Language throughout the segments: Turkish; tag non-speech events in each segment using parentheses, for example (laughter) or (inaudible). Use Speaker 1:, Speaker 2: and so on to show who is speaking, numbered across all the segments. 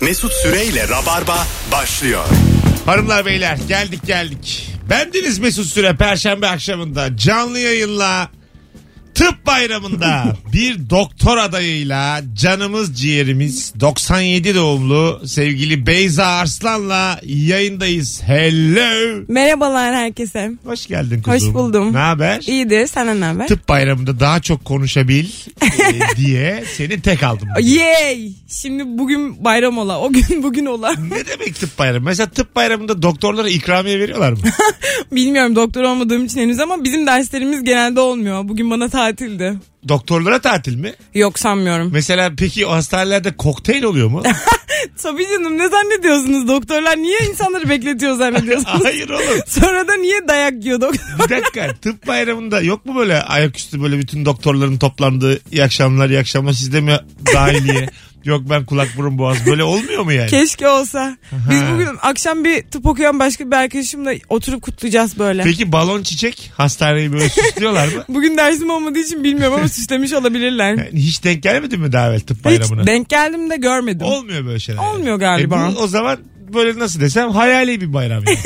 Speaker 1: Mesut Süreyle Rabarba başlıyor.
Speaker 2: Hanımlar beyler geldik geldik. Bendeniz Mesut Süre Perşembe akşamında canlı yayınla tıp
Speaker 3: (laughs)
Speaker 2: bayramında bir doktor adayıyla canımız ciğerimiz 97 doğumlu sevgili Beyza Arslan'la yayındayız. Hello.
Speaker 3: Merhabalar herkese.
Speaker 2: Hoş geldin kuzum.
Speaker 3: Hoş buldum.
Speaker 2: Ne haber?
Speaker 3: İyidir senden ne haber?
Speaker 2: Tıp bayramında daha çok
Speaker 3: (laughs)
Speaker 2: konuşabil e, diye seni tek aldım.
Speaker 3: Yay! Şimdi bugün bayram ola. O gün (laughs) bugün ola.
Speaker 2: Ne demek tıp bayramı? Mesela tıp bayramında doktorlara ikramiye veriyorlar
Speaker 3: (laughs)
Speaker 2: mı?
Speaker 3: Bilmiyorum doktor olmadığım için henüz ama bizim derslerimiz genelde olmuyor. Bugün bana tatildi.
Speaker 2: Doktorlara tatil mi?
Speaker 3: Yok sanmıyorum.
Speaker 2: Mesela peki o hastanelerde kokteyl oluyor
Speaker 3: (laughs)
Speaker 2: mu?
Speaker 3: Tabii canım ne zannediyorsunuz doktorlar? Niye insanları
Speaker 2: (laughs)
Speaker 3: bekletiyor zannediyorsunuz?
Speaker 2: Hayır oğlum.
Speaker 3: Sonra da niye dayak yiyor doktor?
Speaker 2: (laughs) Bir dakika tıp bayramında yok mu böyle ayaküstü böyle bütün doktorların toplandığı iyi akşamlar iyi akşamlar sizde mi
Speaker 3: (laughs)
Speaker 2: dahiliye? yok ben kulak burun boğaz böyle olmuyor mu yani?
Speaker 3: Keşke olsa. Biz
Speaker 2: Aha.
Speaker 3: bugün akşam bir tıp okuyan başka bir arkadaşımla oturup kutlayacağız böyle.
Speaker 2: Peki balon çiçek hastaneyi böyle süslüyorlar mı?
Speaker 3: Bugün dersim olmadığı için bilmiyorum
Speaker 2: (laughs)
Speaker 3: ama süslemiş olabilirler.
Speaker 2: Yani hiç denk gelmedi mi daha evvel tıp
Speaker 3: Hiç
Speaker 2: bayramına?
Speaker 3: denk geldim de görmedim.
Speaker 2: Olmuyor böyle şeyler. yani.
Speaker 3: Olmuyor galiba.
Speaker 2: E bu o zaman böyle nasıl desem hayali bir bayram
Speaker 3: (laughs)
Speaker 2: yani.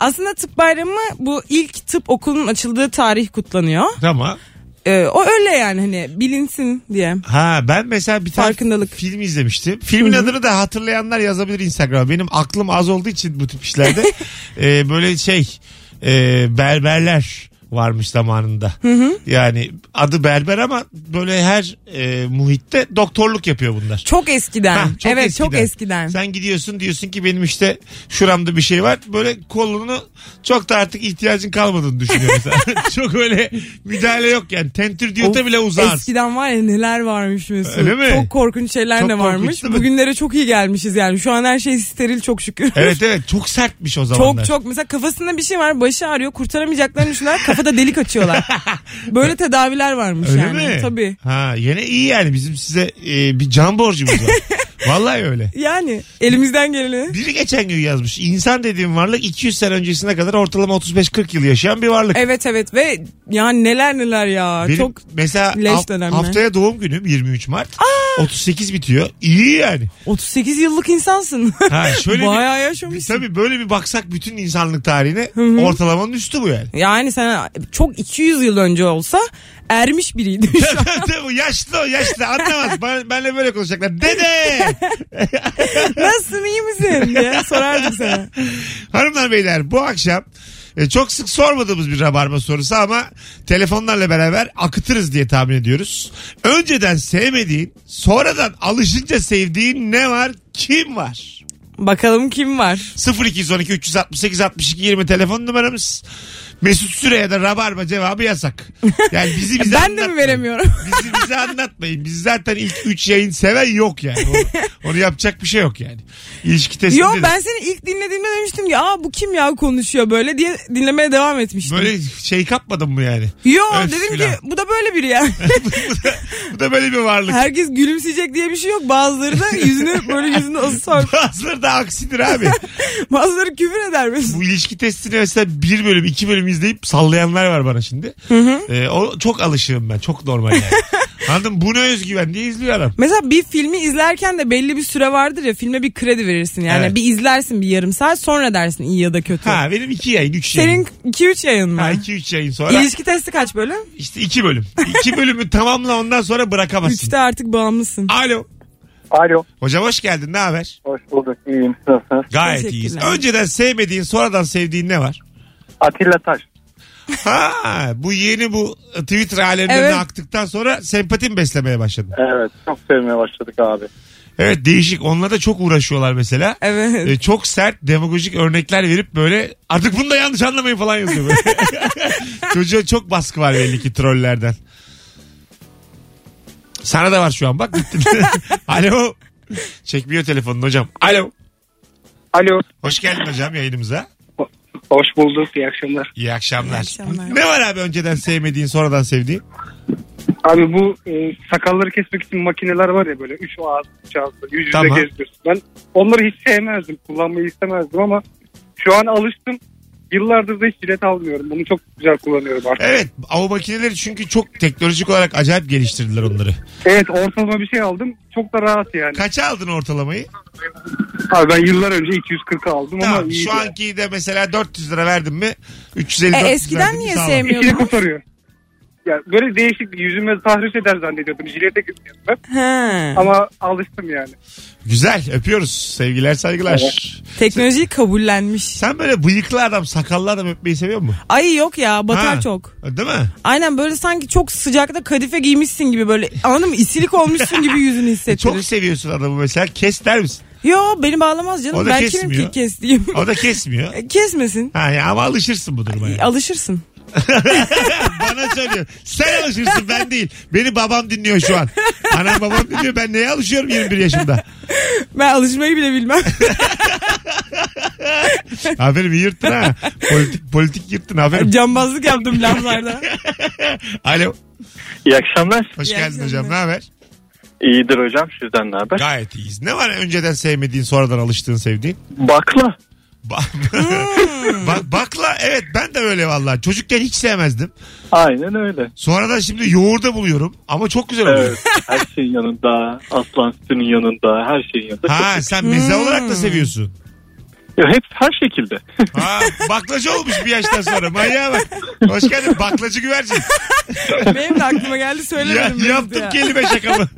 Speaker 3: Aslında tıp bayramı bu ilk tıp okulunun açıldığı tarih kutlanıyor.
Speaker 2: Tamam.
Speaker 3: Ee, o öyle yani hani bilinsin diye.
Speaker 2: Ha ben mesela bir tane
Speaker 3: Farkındalık.
Speaker 2: film izlemiştim. Filmin adını da hatırlayanlar yazabilir Instagram'a. Benim aklım az olduğu için bu tip işlerde
Speaker 3: (laughs)
Speaker 2: e, böyle şey e, berberler varmış zamanında. Yani adı berber ama böyle her e, muhitte doktorluk yapıyor bunlar.
Speaker 3: Çok eskiden.
Speaker 2: Ha,
Speaker 3: evet çok eskiden.
Speaker 2: Sen gidiyorsun diyorsun ki benim işte şuramda bir şey var. Böyle kolunu çok da artık ihtiyacın kalmadığını
Speaker 3: (laughs)
Speaker 2: düşünüyorum. (laughs) çok öyle müdahale yok yani. Tentürdiyota bile uzar.
Speaker 3: Eskiden var ya neler varmış Mesut.
Speaker 2: Öyle mi?
Speaker 3: Çok korkunç şeyler
Speaker 2: Çok
Speaker 3: de
Speaker 2: korkunç
Speaker 3: varmış.
Speaker 2: değil mi?
Speaker 3: Bugünlere çok iyi gelmişiz yani. Şu an her şey steril çok şükür.
Speaker 2: Evet evet çok sertmiş o zamanlar.
Speaker 3: (laughs) Çok çok mesela kafasında bir şey var başı ağrıyor kurtaramayacaklarını düşünüyorlar kafada
Speaker 2: (laughs)
Speaker 3: delik açıyorlar. Böyle tedaviler varmış
Speaker 2: Öyle
Speaker 3: yani.
Speaker 2: mi?
Speaker 3: Tabii.
Speaker 2: Ha yine iyi yani bizim size e, bir can borcumuz
Speaker 3: (laughs)
Speaker 2: var. Vallahi öyle.
Speaker 3: Yani elimizden geleni.
Speaker 2: Biri geçen gün yazmış. İnsan dediğim varlık 200 sene öncesine kadar ortalama 35-40 yıl yaşayan bir varlık.
Speaker 3: Evet evet ve yani neler neler ya.
Speaker 2: Benim
Speaker 3: Çok
Speaker 2: mesela
Speaker 3: leş
Speaker 2: haft-
Speaker 3: dönemler.
Speaker 2: haftaya doğum günüm 23 Mart. 38 bitiyor. İyi yani.
Speaker 3: 38 yıllık insansın.
Speaker 2: Ha (laughs) şöyle bir-
Speaker 3: Bayağı
Speaker 2: bir,
Speaker 3: yaşamışsın.
Speaker 2: tabii böyle bir baksak bütün insanlık tarihine
Speaker 3: hı.
Speaker 2: ortalamanın üstü bu yani. (laughs)
Speaker 3: Yani sen çok 200 yıl önce olsa
Speaker 2: (laughs)
Speaker 3: ermiş biriydin. şu an.
Speaker 2: Bu yaşlı o yaşlı anlamaz. Ben, benle böyle konuşacaklar. Dede!
Speaker 3: Nasılsın iyi misin diye sorardık sana.
Speaker 2: Hanımlar beyler bu akşam e, çok sık sormadığımız bir rabarba sorusu ama telefonlarla beraber akıtırız diye tahmin ediyoruz. Önceden sevmediğin, sonradan alışınca sevdiğin ne var, kim var?
Speaker 3: Bakalım kim var?
Speaker 2: 0212 368 62 20 telefon numaramız. Mesut Süre'ye de rabarba cevabı yasak. Yani
Speaker 3: (laughs)
Speaker 2: bizi bize
Speaker 3: ben de mi
Speaker 2: anlatmayın.
Speaker 3: veremiyorum?
Speaker 2: Bizi bize anlatmayın. Biz zaten ilk 3 yayın seven yok yani. Onu, onu yapacak bir şey yok yani. İlişki testi
Speaker 3: Yo ben seni ilk dinlediğimde demiştim ki aa bu kim ya konuşuyor böyle diye dinlemeye devam etmiştim.
Speaker 2: Böyle şey kapmadın mı yani?
Speaker 3: Yo
Speaker 2: Öf
Speaker 3: dedim ki
Speaker 2: filan.
Speaker 3: bu da böyle biri ya. (laughs)
Speaker 2: Bu da böyle bir varlık.
Speaker 3: Herkes gülümseyecek diye bir şey yok. Bazıları da yüzünü böyle
Speaker 2: (laughs)
Speaker 3: yüzünü asar.
Speaker 2: Bazıları da aksidir
Speaker 3: (laughs)
Speaker 2: abi.
Speaker 3: Bazıları küfür eder mesela.
Speaker 2: Bu ilişki testini mesela bir bölüm iki bölüm izleyip sallayanlar var bana şimdi. Ee, o çok alışığım ben. Çok normal
Speaker 3: (laughs)
Speaker 2: yani. Anladın mı? Bu ne özgüven diye izliyor adam.
Speaker 3: Mesela bir filmi izlerken de belli bir süre vardır ya filme bir kredi verirsin yani.
Speaker 2: Evet.
Speaker 3: Bir izlersin bir yarım saat sonra dersin iyi ya da kötü.
Speaker 2: Ha benim iki yayın, üç
Speaker 3: Senin
Speaker 2: yayın.
Speaker 3: 2-3 yayın mı?
Speaker 2: Ha iki üç yayın sonra
Speaker 3: İlişki testi kaç bölüm?
Speaker 2: işte iki bölüm. İki bölümü tamamla ondan sonra bırakamazsın.
Speaker 3: 3'te artık bağımlısın.
Speaker 2: Alo.
Speaker 4: Alo.
Speaker 2: Hocam hoş geldin. Ne haber?
Speaker 4: Hoş bulduk. İyiyim. Siz Nasılsınız?
Speaker 2: Gayet iyiyiz.
Speaker 3: Teşekkürler.
Speaker 2: Önceden sevmediğin sonradan sevdiğin ne var?
Speaker 4: Atilla Taş.
Speaker 2: Ha bu yeni bu Twitter alemlerine
Speaker 3: Evet.
Speaker 2: aktıktan sonra sempatim beslemeye başladım.
Speaker 4: Evet. Çok sevmeye başladık abi.
Speaker 2: Evet değişik. Onunla da çok uğraşıyorlar mesela.
Speaker 3: Evet.
Speaker 2: Ee, çok sert demagojik örnekler verip böyle artık bunu da yanlış anlamayın falan yazıyor böyle. (laughs) Çocuğa çok baskı var belli ki trollerden. Sana da var şu an bak (laughs) gittin. Alo. Çekmiyor telefonun hocam. Alo.
Speaker 5: Alo.
Speaker 2: Hoş geldin hocam yayınımıza.
Speaker 5: Hoş bulduk. İyi akşamlar.
Speaker 2: İyi akşamlar.
Speaker 3: İyi akşamlar.
Speaker 2: Ne var abi önceden sevmediğin sonradan sevdiğin?
Speaker 5: Abi bu e, sakalları kesmek için makineler var ya böyle 3 ağız, 3 ağız böyle yüz yüze
Speaker 2: Tamam.
Speaker 5: gezdiriyorsun. Ben onları hiç sevmezdim. Kullanmayı istemezdim ama şu an alıştım. Yıllardır da hiç jilet almıyorum. Bunu çok güzel kullanıyorum artık.
Speaker 2: Evet av makineleri çünkü çok teknolojik olarak acayip geliştirdiler onları.
Speaker 5: Evet ortalama bir şey aldım. Çok da rahat yani.
Speaker 2: Kaça aldın ortalamayı?
Speaker 5: Abi ben yıllar önce 240 aldım ama
Speaker 2: Tamam
Speaker 5: iyiydi.
Speaker 2: şu anki de mesela 400 lira verdin mi 350
Speaker 3: E,
Speaker 2: 400
Speaker 3: eskiden
Speaker 2: verdin mi
Speaker 3: niye
Speaker 2: sağlam.
Speaker 3: sevmiyor?
Speaker 5: İşini kurtarıyor. Ya böyle değişik yüzüme tahriş eder zannediyordum. Jilete gidiyordum ben.
Speaker 3: Ha.
Speaker 5: Ama alıştım yani.
Speaker 2: Güzel öpüyoruz sevgiler saygılar.
Speaker 3: Teknolojiyi kabullenmiş.
Speaker 2: Sen böyle bıyıklı adam sakallı adam öpmeyi seviyor musun?
Speaker 3: Ay yok ya batar
Speaker 2: Ha.
Speaker 3: çok.
Speaker 2: Değil mi?
Speaker 3: Aynen böyle sanki çok sıcakta kadife giymişsin gibi böyle anladın mı? İsilik olmuşsun gibi
Speaker 2: (laughs)
Speaker 3: yüzünü
Speaker 2: E,
Speaker 3: hissettirir.
Speaker 2: Çok seviyorsun adamı mesela kes der misin?
Speaker 3: Yo beni bağlamaz
Speaker 2: O
Speaker 3: canım.
Speaker 2: da
Speaker 3: Ben kimim
Speaker 2: kesmiyor.
Speaker 3: ki
Speaker 2: (laughs)
Speaker 3: kes diyeyim.
Speaker 2: O da
Speaker 3: (laughs)
Speaker 2: kesmiyor.
Speaker 3: E, Kesmesin.
Speaker 2: Ha ya ama alışırsın bu duruma. yani.
Speaker 3: Alışırsın.
Speaker 2: Bana söylüyor. Sen alışırsın ben değil. Beni babam dinliyor şu an. Anam babam dinliyor. Ben neye alışıyorum 21 yaşımda?
Speaker 3: Ben alışmayı
Speaker 2: (laughs)
Speaker 3: bile bilmem.
Speaker 2: Aferin iyi yırttın ha. Politik, politik yırttın aferin.
Speaker 3: Cambazlık yaptım laflarda.
Speaker 2: Alo.
Speaker 6: İyi akşamlar.
Speaker 2: Hoş
Speaker 3: İyi
Speaker 2: geldin
Speaker 3: akşamlar.
Speaker 2: hocam. Ne haber?
Speaker 6: İyidir hocam sizden ne haber?
Speaker 2: Gayet iyiyiz. Ne var önceden sevmediğin sonradan alıştığın sevdiğin?
Speaker 6: Bakla.
Speaker 2: Ba- (laughs) Bak, bakla evet ben de öyle vallahi. Çocukken hiç sevmezdim. (laughs)
Speaker 6: Aynen öyle.
Speaker 2: Sonradan şimdi yoğurda buluyorum ama çok güzel oluyor.
Speaker 6: Evet. her şeyin yanında. Aslan sütünün yanında. Her şeyin yanında.
Speaker 2: Ha sen
Speaker 3: Hmm.
Speaker 2: meze olarak da seviyorsun.
Speaker 6: Ya hep her
Speaker 2: (laughs)
Speaker 6: şekilde.
Speaker 2: Ha, baklacı olmuş bir yaştan sonra. Manyağa bak. Hoş geldin baklacı
Speaker 3: (laughs)
Speaker 2: güvercin.
Speaker 3: Benim de aklıma geldi
Speaker 2: Ya,
Speaker 3: söylemedim.
Speaker 2: yaptım kelime şakamı.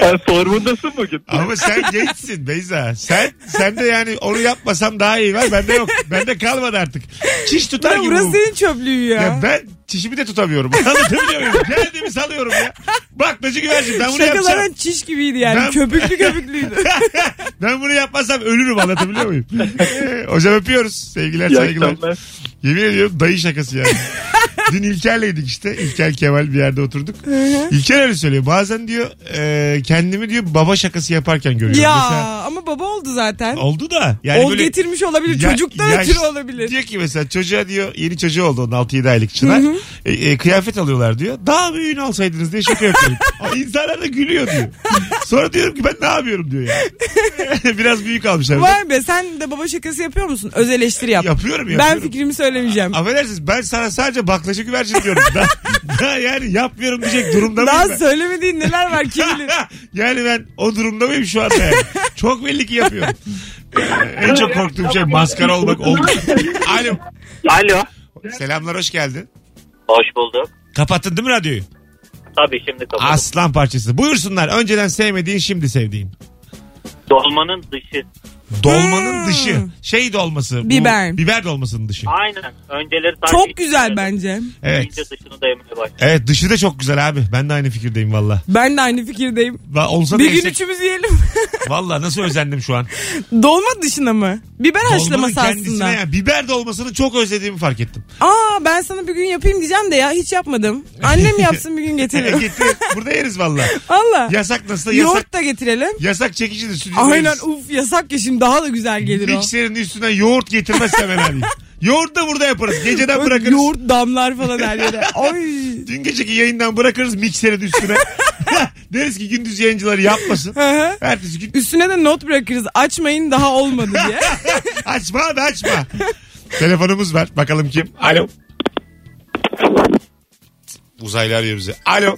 Speaker 6: Sen formundasın bugün.
Speaker 2: Ama sen gençsin Beyza. Sen sen de yani onu yapmasam daha iyi var. Bende yok. Bende kalmadı artık. Çiş tutar
Speaker 3: Ya
Speaker 2: gibi.
Speaker 3: burası
Speaker 2: bu.
Speaker 3: senin çöplüğü ya.
Speaker 2: Ya ben çişimi de tutamıyorum. Anlatabiliyor muyum? Kendimi salıyorum ya. Baklacı güvercin ben bunu
Speaker 3: Şakaların
Speaker 2: yapacağım.
Speaker 3: çiş gibiydi yani.
Speaker 2: Ben-
Speaker 3: Köpüklü
Speaker 2: (laughs)
Speaker 3: köpüklüydü.
Speaker 2: ben bunu yapmazsam ölürüm anlatabiliyor
Speaker 6: (laughs)
Speaker 2: muyum? Ee, Hocam öpüyoruz. Sevgiler
Speaker 6: İyi
Speaker 2: saygılar.
Speaker 6: akşamlar.
Speaker 2: Yemin ediyorum dayı şakası
Speaker 6: (laughs)
Speaker 2: yani. Dün İlker'leydik işte. İlker Kemal bir yerde oturduk. İlker öyle söylüyor. Bazen diyor e, kendimi diyor baba şakası yaparken görüyorum.
Speaker 3: ya
Speaker 2: Mesela
Speaker 3: ama baba oldu zaten.
Speaker 2: oldu da. Yani
Speaker 3: Ol
Speaker 2: böyle
Speaker 3: getirmiş olabilir.
Speaker 2: ya-
Speaker 3: Çocuktan
Speaker 2: yaş-
Speaker 3: ötürü olabilir.
Speaker 2: Diyor ki mesela çocuğa diyor yeni çocuğu oldu onun 6-7 aylık çınar. E, e, kıyafet alıyorlar diyor. Daha büyüğünü alsaydınız diye şaka
Speaker 3: (laughs)
Speaker 2: yapıyorum. Ama İnsanlar da gülüyor diyor. Sonra diyorum ki ben ne yapıyorum diyor
Speaker 3: (laughs)
Speaker 2: yani. (laughs) Biraz büyük almışlar.
Speaker 3: Vay be sen de baba şakası yapıyor musun? Öz eleştiri yap.
Speaker 2: Yapıyorum yapıyorum.
Speaker 3: ben fikrimi söylemeyeceğim.
Speaker 2: Affedersiniz ben sana sadece baklacı güvercin
Speaker 3: (laughs)
Speaker 2: diyorum. daha, daha yani yapmıyorum diyecek durumda
Speaker 3: Daha
Speaker 2: mıyım ben?
Speaker 3: söylemediğin neler var kim
Speaker 2: (laughs)
Speaker 3: bilir.
Speaker 2: yani ben o durumda mıyım şu anda yani? Çok belli ki yapıyorum. Ee, en çok korktuğum şey maskara olmak oldu. Alo.
Speaker 7: Alo.
Speaker 2: Selamlar hoş geldin.
Speaker 7: Hoş bulduk.
Speaker 2: Kapattın değil mi radyoyu?
Speaker 7: Tabii şimdi kapadım.
Speaker 2: Aslan parçası. Buyursunlar. Önceden sevmediğin şimdi sevdiğin.
Speaker 7: Dolmanın dışı.
Speaker 2: Dolmanın
Speaker 3: Hmm.
Speaker 2: dışı. Şey dolması. bu
Speaker 3: Biber.
Speaker 2: Biber dolmasının dışı.
Speaker 7: Aynen. Önceleri sadece
Speaker 3: Çok
Speaker 7: iç
Speaker 3: güzel
Speaker 7: dışarıda.
Speaker 3: bence.
Speaker 2: Evet.
Speaker 7: İyice dışını da yemeye başladı.
Speaker 2: Evet dışı da çok güzel abi. Ben de aynı fikirdeyim valla.
Speaker 3: Ben de aynı fikirdeyim.
Speaker 2: Va- Olsa da
Speaker 3: Bir gün
Speaker 2: yesek.
Speaker 3: üçümüz yiyelim. (laughs)
Speaker 2: Valla nasıl özendim şu an.
Speaker 3: Dolma dışına mı? Biber haşlaması
Speaker 2: Dolmanın kendisine
Speaker 3: aslında.
Speaker 2: ya, biber dolmasını çok özlediğimi fark ettim.
Speaker 3: Aa ben sana bir gün yapayım diyeceğim de ya hiç yapmadım. Annem yapsın bir
Speaker 2: (laughs)
Speaker 3: gün getirir.
Speaker 2: Getir, burada yeriz valla.
Speaker 3: (laughs) Valla.
Speaker 2: Yasak nasıl yasak.
Speaker 3: Yoğurt da getirelim.
Speaker 2: Yasak çekicidir. stüdyoda
Speaker 3: Aynen
Speaker 2: yeriz.
Speaker 3: uf yasak ya şimdi daha da güzel gelir o.
Speaker 2: Mikserin üstüne yoğurt getirmezse ben
Speaker 3: (laughs)
Speaker 2: abi. Yoğurt da burada yaparız. Geceden
Speaker 3: Böyle
Speaker 2: bırakırız.
Speaker 3: Yoğurt damlar falan
Speaker 2: (laughs)
Speaker 3: her yere. Ay.
Speaker 2: Dün geceki yayından bırakırız mikserin üstüne. (laughs) Deriz ki gündüz yayıncıları yapmasın.
Speaker 3: Hı hı.
Speaker 2: Ertesi gün
Speaker 3: Üstüne de not bırakırız. Açmayın daha olmadı
Speaker 2: (laughs)
Speaker 3: diye.
Speaker 2: açma abi açma. Telefonumuz var. Bakalım kim? Alo. Uzaylı arıyor bizi. Alo.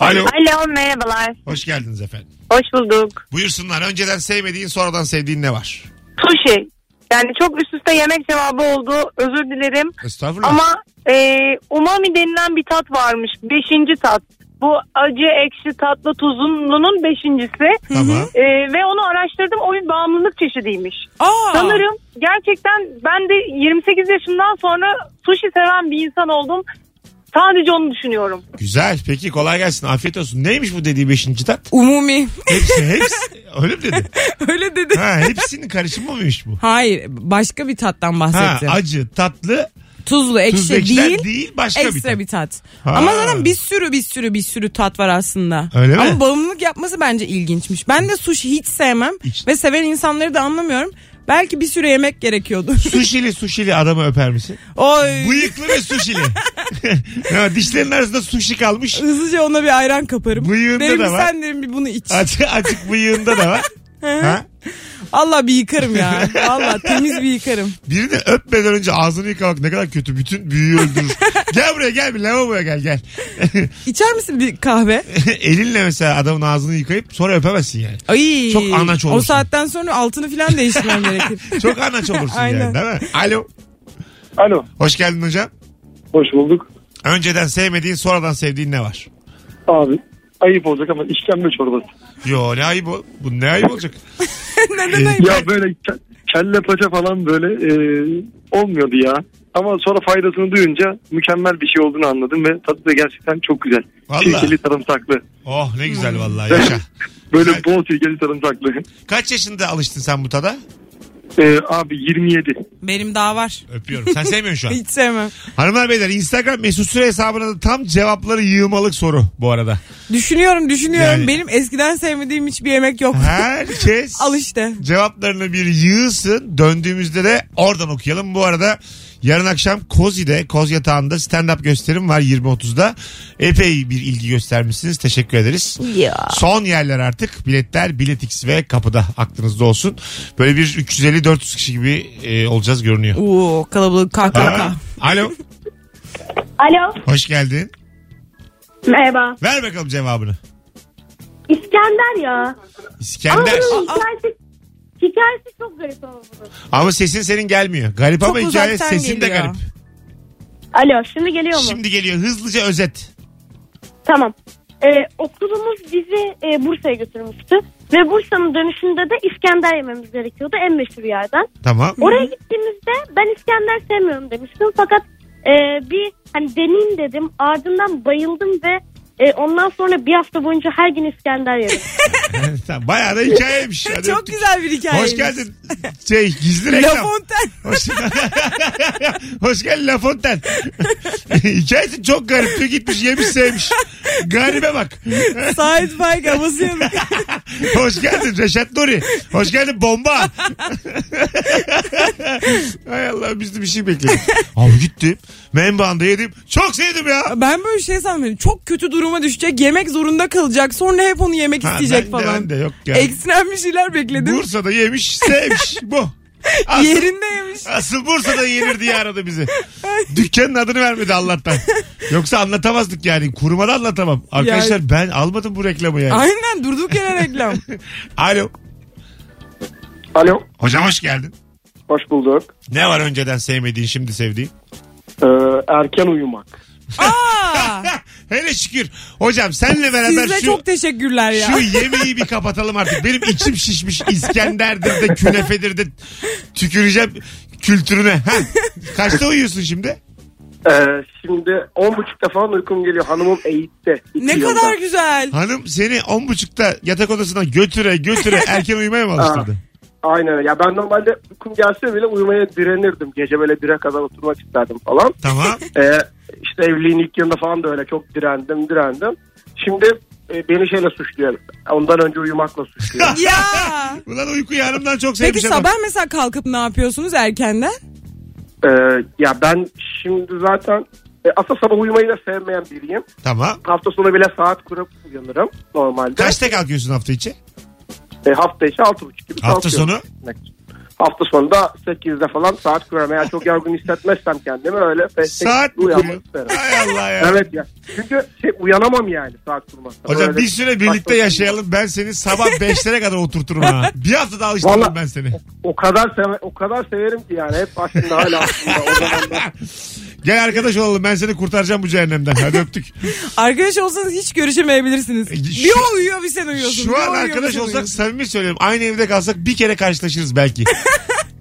Speaker 2: Alo.
Speaker 8: Alo merhabalar.
Speaker 2: Hoş geldiniz efendim.
Speaker 8: Hoş bulduk.
Speaker 2: Buyursunlar. Önceden sevmediğin sonradan sevdiğin ne var?
Speaker 8: Sushi. Yani çok üst üste yemek cevabı oldu. Özür dilerim.
Speaker 2: Estağfurullah.
Speaker 8: Ama e, umami denilen bir tat varmış. Beşinci tat. Bu acı, ekşi, tatlı, tuzunun beşincisi.
Speaker 2: Tamam.
Speaker 8: E, ve onu araştırdım. O bir bağımlılık çeşidiymiş.
Speaker 3: Aa.
Speaker 8: Sanırım gerçekten ben de 28 yaşından sonra sushi seven bir insan oldum. Sadece onu düşünüyorum.
Speaker 2: Güzel. Peki kolay gelsin. Afiyet olsun. Neymiş bu dediği beşinci tat? (laughs)
Speaker 3: Umumi.
Speaker 2: Hepsi
Speaker 3: (laughs)
Speaker 2: hepsi. Öyle mi dedi?
Speaker 3: Öyle dedi.
Speaker 2: Ha, hepsinin karışımı mıymış bu?
Speaker 3: Hayır başka bir tattan
Speaker 2: Ha,
Speaker 3: bahsetti.
Speaker 2: acı, tatlı,
Speaker 3: Tuzlu ekşi
Speaker 2: tuzlu ekşiden
Speaker 3: değil.
Speaker 2: değil, başka bir
Speaker 3: ekstra
Speaker 2: tat.
Speaker 3: bir tat.
Speaker 2: Ha.
Speaker 3: Ama zaten bir sürü bir sürü bir sürü tat var aslında.
Speaker 2: Öyle mi?
Speaker 3: Ama bağımlılık yapması bence ilginçmiş. Ben de sushi hiç sevmem
Speaker 2: Hiç.
Speaker 3: ve seven insanları da anlamıyorum. Belki bir süre yemek gerekiyordu.
Speaker 2: Suşili suşili adamı öper misin?
Speaker 3: (laughs) Oy.
Speaker 2: Bıyıklı ve
Speaker 3: (laughs)
Speaker 2: suşili. ya, dişlerin arasında suşi kalmış.
Speaker 3: Hızlıca ona bir ayran kaparım.
Speaker 2: Bıyığında
Speaker 3: derim
Speaker 2: da
Speaker 3: ki,
Speaker 2: var.
Speaker 3: sen derim bir bunu iç.
Speaker 2: Açık, açık bıyığında da var. ha?
Speaker 3: Allah bir
Speaker 2: (laughs)
Speaker 3: yıkarım ya. Valla temiz bir yıkarım.
Speaker 2: Birini öpmeden önce ağzını yıkamak ne kadar kötü. Bütün büyüyü öldürür.
Speaker 3: (laughs)
Speaker 2: gel buraya gel bir lavaboya gel gel.
Speaker 3: İçer misin bir kahve?
Speaker 2: (laughs) Elinle mesela adamın ağzını yıkayıp sonra öpemezsin yani.
Speaker 3: Ay.
Speaker 2: Çok anaç
Speaker 3: O
Speaker 2: olursun.
Speaker 3: saatten sonra altını falan değiştirmem
Speaker 2: (laughs)
Speaker 3: gerekir.
Speaker 2: Çok anaç
Speaker 3: (laughs)
Speaker 2: olursun yani
Speaker 3: Aynen.
Speaker 2: değil mi? Alo.
Speaker 5: Alo.
Speaker 2: Hoş geldin hocam.
Speaker 5: Hoş bulduk.
Speaker 2: Önceden sevmediğin sonradan sevdiğin ne var?
Speaker 5: Abi ayıp olacak ama işkembe çorbası.
Speaker 2: Yo ne ayıp o. Bu ne ayıp
Speaker 3: (laughs)
Speaker 2: olacak?
Speaker 3: Neden
Speaker 2: Ee,
Speaker 3: ayıp?
Speaker 5: Ya böyle ke- kelle paça falan böyle e, olmuyordu ya. Ama sonra faydasını duyunca mükemmel bir şey olduğunu anladım ve tadı da gerçekten çok güzel.
Speaker 2: Vallahi.
Speaker 5: Sirkeli sarımsaklı.
Speaker 2: Oh ne
Speaker 3: Hmm.
Speaker 2: güzel vallahi yaşa.
Speaker 5: Böyle
Speaker 2: Güzel.
Speaker 5: bol sirkeli sarımsaklı.
Speaker 2: Kaç yaşında alıştın sen bu tada?
Speaker 5: E, abi 27.
Speaker 3: Benim daha var.
Speaker 2: Öpüyorum. Sen sevmiyorsun şu
Speaker 3: (laughs)
Speaker 2: an.
Speaker 3: Hiç sevmem.
Speaker 2: Hanımlar beyler Instagram mesut süre hesabına da tam cevapları yığmalık soru bu arada.
Speaker 3: Düşünüyorum düşünüyorum.
Speaker 2: Yani-
Speaker 3: Benim eskiden sevmediğim hiçbir yemek yok.
Speaker 2: Herkes
Speaker 3: Al işte.
Speaker 2: cevaplarını bir yığsın. Döndüğümüzde de oradan okuyalım. Bu arada yarın akşam Kozi'de, Koz Yatağı'nda stand-up gösterim var 20.30'da. Epey bir ilgi göstermişsiniz. Teşekkür ederiz. Son yerler artık. Biletler, biletix ve kapıda aklınızda olsun. Böyle bir 350-400 kişi gibi e, olacağız görünüyor.
Speaker 3: Oo kalabalık
Speaker 2: Ha?
Speaker 3: kahkaha.
Speaker 2: Alo.
Speaker 8: Alo.
Speaker 2: Hoş geldin.
Speaker 8: Merhaba.
Speaker 2: Ver bakalım cevabını.
Speaker 8: İskender ya. Ama
Speaker 2: İskender.
Speaker 8: bunun hikayesi, hikayesi çok garip ama bunun.
Speaker 2: Ama sesin senin gelmiyor. Garip
Speaker 3: Çok
Speaker 2: ama hikaye
Speaker 3: uzaktan
Speaker 2: sesin de
Speaker 3: geliyor.
Speaker 2: garip.
Speaker 8: Alo şimdi geliyor mu?
Speaker 2: Şimdi geliyor hızlıca özet.
Speaker 8: Tamam. Ee, okulumuz bizi e, Bursa'ya götürmüştü. Ve Bursa'nın dönüşünde de İskender yememiz gerekiyordu en meşhur yerden.
Speaker 2: Tamam. (laughs)
Speaker 8: Oraya gittiğimizde ben İskender sevmiyorum demiştim. Fakat e, bir hani deneyim dedim. Ardından bayıldım ve e, ondan sonra bir hafta boyunca her gün İskender yedim.
Speaker 2: Tamam, Bayağı da
Speaker 3: (laughs)
Speaker 2: hikayeymiş. Hadi
Speaker 3: Çok
Speaker 2: öptük.
Speaker 3: güzel bir hikaye.
Speaker 2: Hoş geldin. Şey gizli
Speaker 3: La
Speaker 2: reklam.
Speaker 3: Fontaine.
Speaker 2: Hoş, (laughs) Hoş geldin La Fontaine. (laughs) Hikayesi çok garip. Diyor gitmiş yemiş sevmiş. Garibe bak.
Speaker 3: Sait Faik havası yok.
Speaker 2: (laughs) Hoş geldin Reşat Nuri. Hoş geldin bomba. Hay Allah biz de bir şey bekliyoruz. Abi gittim. Menbaanda yedim. Çok sevdim ya.
Speaker 3: Ben böyle şey sanmıyorum. Çok kötü duruma düşecek. Yemek zorunda kalacak. Sonra hep onu yemek
Speaker 2: Ha,
Speaker 3: isteyecek
Speaker 2: ben de,
Speaker 3: falan.
Speaker 2: ben de yok ya.
Speaker 3: Ekstrem bir şeyler bekledim.
Speaker 2: Bursa'da yemiş sevmiş bu. Asıl,
Speaker 3: Yerinde yemiş.
Speaker 2: asıl Bursa'da yenir diye aradı bizi. Dükkanın adını vermedi Allah'tan. Yoksa anlatamazdık yani. Kurumada anlatamam. Arkadaşlar ben almadım bu reklamı yani.
Speaker 3: Aynen durduk yere reklam.
Speaker 2: (laughs) Alo.
Speaker 5: Alo.
Speaker 2: Hocam hoş geldin.
Speaker 5: Hoş bulduk. E,
Speaker 2: Ne var önceden sevmediğin şimdi sevdiğin?
Speaker 5: erken uyumak.
Speaker 3: Aa,
Speaker 2: (laughs) Hele şükür. Hocam senle beraber
Speaker 3: size
Speaker 2: şu...
Speaker 3: çok teşekkürler ya.
Speaker 2: Şu yemeği bir kapatalım artık. Benim içim şişmiş İskender'dir de künefedir de tüküreceğim kültürüne. Ha, kaçta uyuyorsun şimdi?
Speaker 5: E, şimdi on buçukta falan uykum geliyor. Hanımım eğitte.
Speaker 3: ne kadar güzel.
Speaker 2: Hanım seni on buçukta yatak odasına götüre götüre erken uyumaya mı alıştırdı?
Speaker 5: Aynen ya ben normalde uykum gelse bile uyumaya direnirdim. Gece böyle bire kadar oturmak isterdim falan.
Speaker 2: tamam.
Speaker 5: Ee, işte evliliğin ilk yılında falan da öyle çok direndim direndim. Şimdi e, beni şeyle suçluyor. Ondan önce uyumakla suçluyor.
Speaker 2: (laughs)
Speaker 3: Ya.
Speaker 2: Ulan uyku yarımdan çok
Speaker 3: Peki
Speaker 2: sevmiş ama.
Speaker 3: sabah mesela kalkıp ne yapıyorsunuz erkenden?
Speaker 5: Ee, ya ben şimdi zaten e, aslında sabah uyumayı da sevmeyen biriyim.
Speaker 2: Tamam.
Speaker 5: Hafta sonu bile saat kurup uyanırım normalde.
Speaker 2: Kaçta kalkıyorsun hafta içi?
Speaker 5: E, hafta içi altı buçuk gibi
Speaker 2: Hafta
Speaker 5: kalkıyorum.
Speaker 2: sonu?
Speaker 5: Hafta sonu da 8'de falan saat kurarım. Eğer çok yorgun hissetmezsem kendimi öyle pek
Speaker 2: Saat mi
Speaker 5: uyanmak
Speaker 2: kuruyor?
Speaker 5: isterim.
Speaker 2: Hay Allah ya.
Speaker 5: Evet ya. Çünkü şey, uyanamam yani saat kurmazsam.
Speaker 2: Hocam
Speaker 5: Öyle
Speaker 2: bir süre birlikte yaşayalım. Ben seni sabah beşlere kadar oturturum ha. Bir hafta daha alıştırırım
Speaker 5: Vallahi-
Speaker 2: ben seni.
Speaker 5: O kadar seve- o kadar severim ki yani hep aslında hala aslında o zaman
Speaker 2: Gel arkadaş olalım. Ben seni kurtaracağım bu cehennemden.
Speaker 3: (laughs)
Speaker 2: Hadi öptük.
Speaker 3: Arkadaş olsanız hiç görüşemeyebilirsiniz.
Speaker 2: E,
Speaker 3: Bir
Speaker 2: şu-
Speaker 3: o uyuyor bir sen uyuyorsun. Bir
Speaker 2: Şu
Speaker 3: o
Speaker 2: an
Speaker 3: uyuyor, bir
Speaker 2: arkadaş
Speaker 3: sen
Speaker 2: olsak
Speaker 3: uyuyorsun.
Speaker 2: samimi söylüyorum. Aynı evde kalsak bir kere karşılaşırız
Speaker 3: (laughs)
Speaker 2: belki.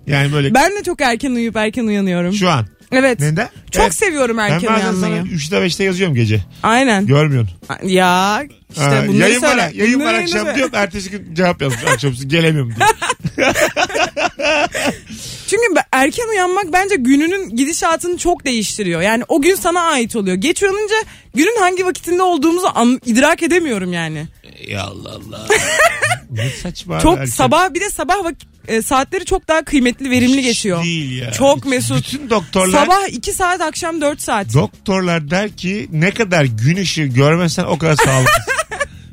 Speaker 2: Yani böyle
Speaker 3: Ben de çok erken uyuyup erken uyanıyorum.
Speaker 2: şu an.
Speaker 3: Evet.
Speaker 2: Neden?
Speaker 3: Çok
Speaker 2: Evet.
Speaker 3: seviyorum
Speaker 2: Ben
Speaker 3: erken
Speaker 2: bazen sana
Speaker 3: uyanmayı.
Speaker 2: 3'te 5'te yazıyorum gece.
Speaker 3: Aynen.
Speaker 2: Görmüyorsun.
Speaker 3: Ya işte
Speaker 2: Ha,
Speaker 3: bunları
Speaker 2: yayın
Speaker 3: söyle.
Speaker 2: var, ha, yayın var
Speaker 3: Bunları
Speaker 2: akşam
Speaker 3: söyle.
Speaker 2: diyorum. Ertesi gün cevap yazmış akşamüstü gelemiyorum
Speaker 3: (laughs)
Speaker 2: diyor.
Speaker 3: Çünkü be- erken uyanmak bence gününün gidişatını çok değiştiriyor. Yani o gün sana ait oluyor. Geç uyanınca günün hangi vakitinde olduğumuzu an- idrak edemiyorum yani.
Speaker 2: ya Allah Allah. ne saçma.
Speaker 3: çok
Speaker 2: abi, erken-
Speaker 3: sabah bir de sabah vak- e, saatleri çok daha kıymetli verimli geçiyor.
Speaker 2: Değil ya.
Speaker 3: Çok
Speaker 2: Bütün-
Speaker 3: mesut.
Speaker 2: Bütün doktorlar
Speaker 3: Sabah 2 saat akşam 4 saat. (laughs)
Speaker 2: doktorlar der ki ne kadar gün ışığı görmezsen o kadar sağlıklısın.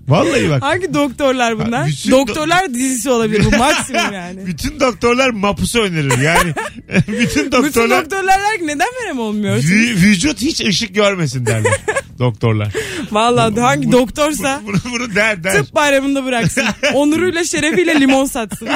Speaker 2: Vallahi bak.
Speaker 3: Hangi doktorlar bunlar?
Speaker 2: Ha, bütün do-
Speaker 3: doktorlar dizisi olabilir bu
Speaker 2: (laughs)
Speaker 3: maksimum yani.
Speaker 2: Bütün doktorlar mapusu önerir yani. (laughs) bütün
Speaker 3: Bütün
Speaker 2: doktorlar
Speaker 3: doktorlar der ki neden verem olmuyor?
Speaker 2: vü- vücut hiç ışık görmesin derler. doktorlar.
Speaker 3: Vallahi hangi doktorsa
Speaker 2: Bunu, bunu der der.
Speaker 3: tıp
Speaker 2: (laughs)
Speaker 3: bayramında bıraksın. Onuruyla şerefiyle limon satsın.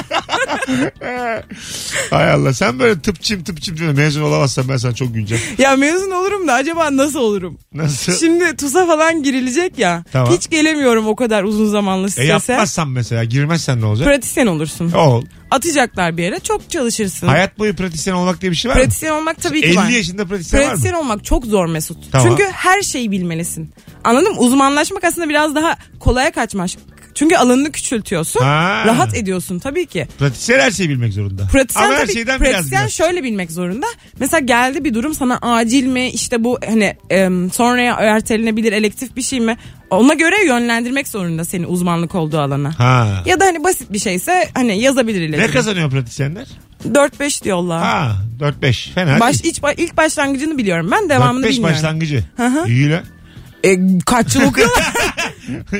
Speaker 2: Hay Allah sen böyle tıpçım tıpçım diyorsun. Mezun olamazsan ben sana çok güleceğim.
Speaker 3: Ya mezun olurum da acaba nasıl olurum?
Speaker 2: Nasıl?
Speaker 3: Şimdi TUS'a falan girilecek ya.
Speaker 2: Tamam.
Speaker 3: Hiç gelemiyorum o kadar uzun zamanlı
Speaker 2: e
Speaker 3: strese.
Speaker 2: yapmazsan mesela girmezsen ne olacak?
Speaker 3: pratisyen olursun.
Speaker 2: Ol.
Speaker 3: Atacaklar bir yere çok çalışırsın.
Speaker 2: Hayat boyu pratisyen olmak diye bir şey var mı?
Speaker 3: Pratisyen olmak tabii ki
Speaker 2: 50
Speaker 3: var.
Speaker 2: yaşında pratisyen,
Speaker 3: Pratisyen
Speaker 2: var mı?
Speaker 3: olmak çok zor Mesut.
Speaker 2: Tamam.
Speaker 3: Çünkü her şeyi bilmelisin. Anladın mı? Uzmanlaşmak aslında biraz daha kolaya kaçmak. Çünkü alanını küçültüyorsun.
Speaker 2: Ha.
Speaker 3: Rahat ediyorsun tabii ki.
Speaker 2: Pratisyen her şeyi bilmek zorunda.
Speaker 3: Pratisyen
Speaker 2: Ama her
Speaker 3: tabii-
Speaker 2: şeyden biraz
Speaker 3: pratisyen
Speaker 2: biraz.
Speaker 3: şöyle bilmek zorunda. Mesela geldi bir durum sana acil mi işte bu hani em, sonraya ertelenebilir elektif bir şey mi? Ona göre yönlendirmek zorunda seni uzmanlık olduğu alana.
Speaker 2: Ha.
Speaker 3: Ya da hani basit bir şeyse hani yazabilir iletişim.
Speaker 2: Ne kazanıyor pratisyenler?
Speaker 3: 4-5 diyorlar.
Speaker 2: Ha 4-5 fena
Speaker 3: Baş,
Speaker 2: değil.
Speaker 3: ilk, ilk başlangıcını biliyorum ben devamını
Speaker 2: 4-5
Speaker 3: bilmiyorum.
Speaker 2: başlangıcı.
Speaker 3: hı.
Speaker 2: İyi lan. (laughs)
Speaker 3: E, kaç yıl okuyorlar?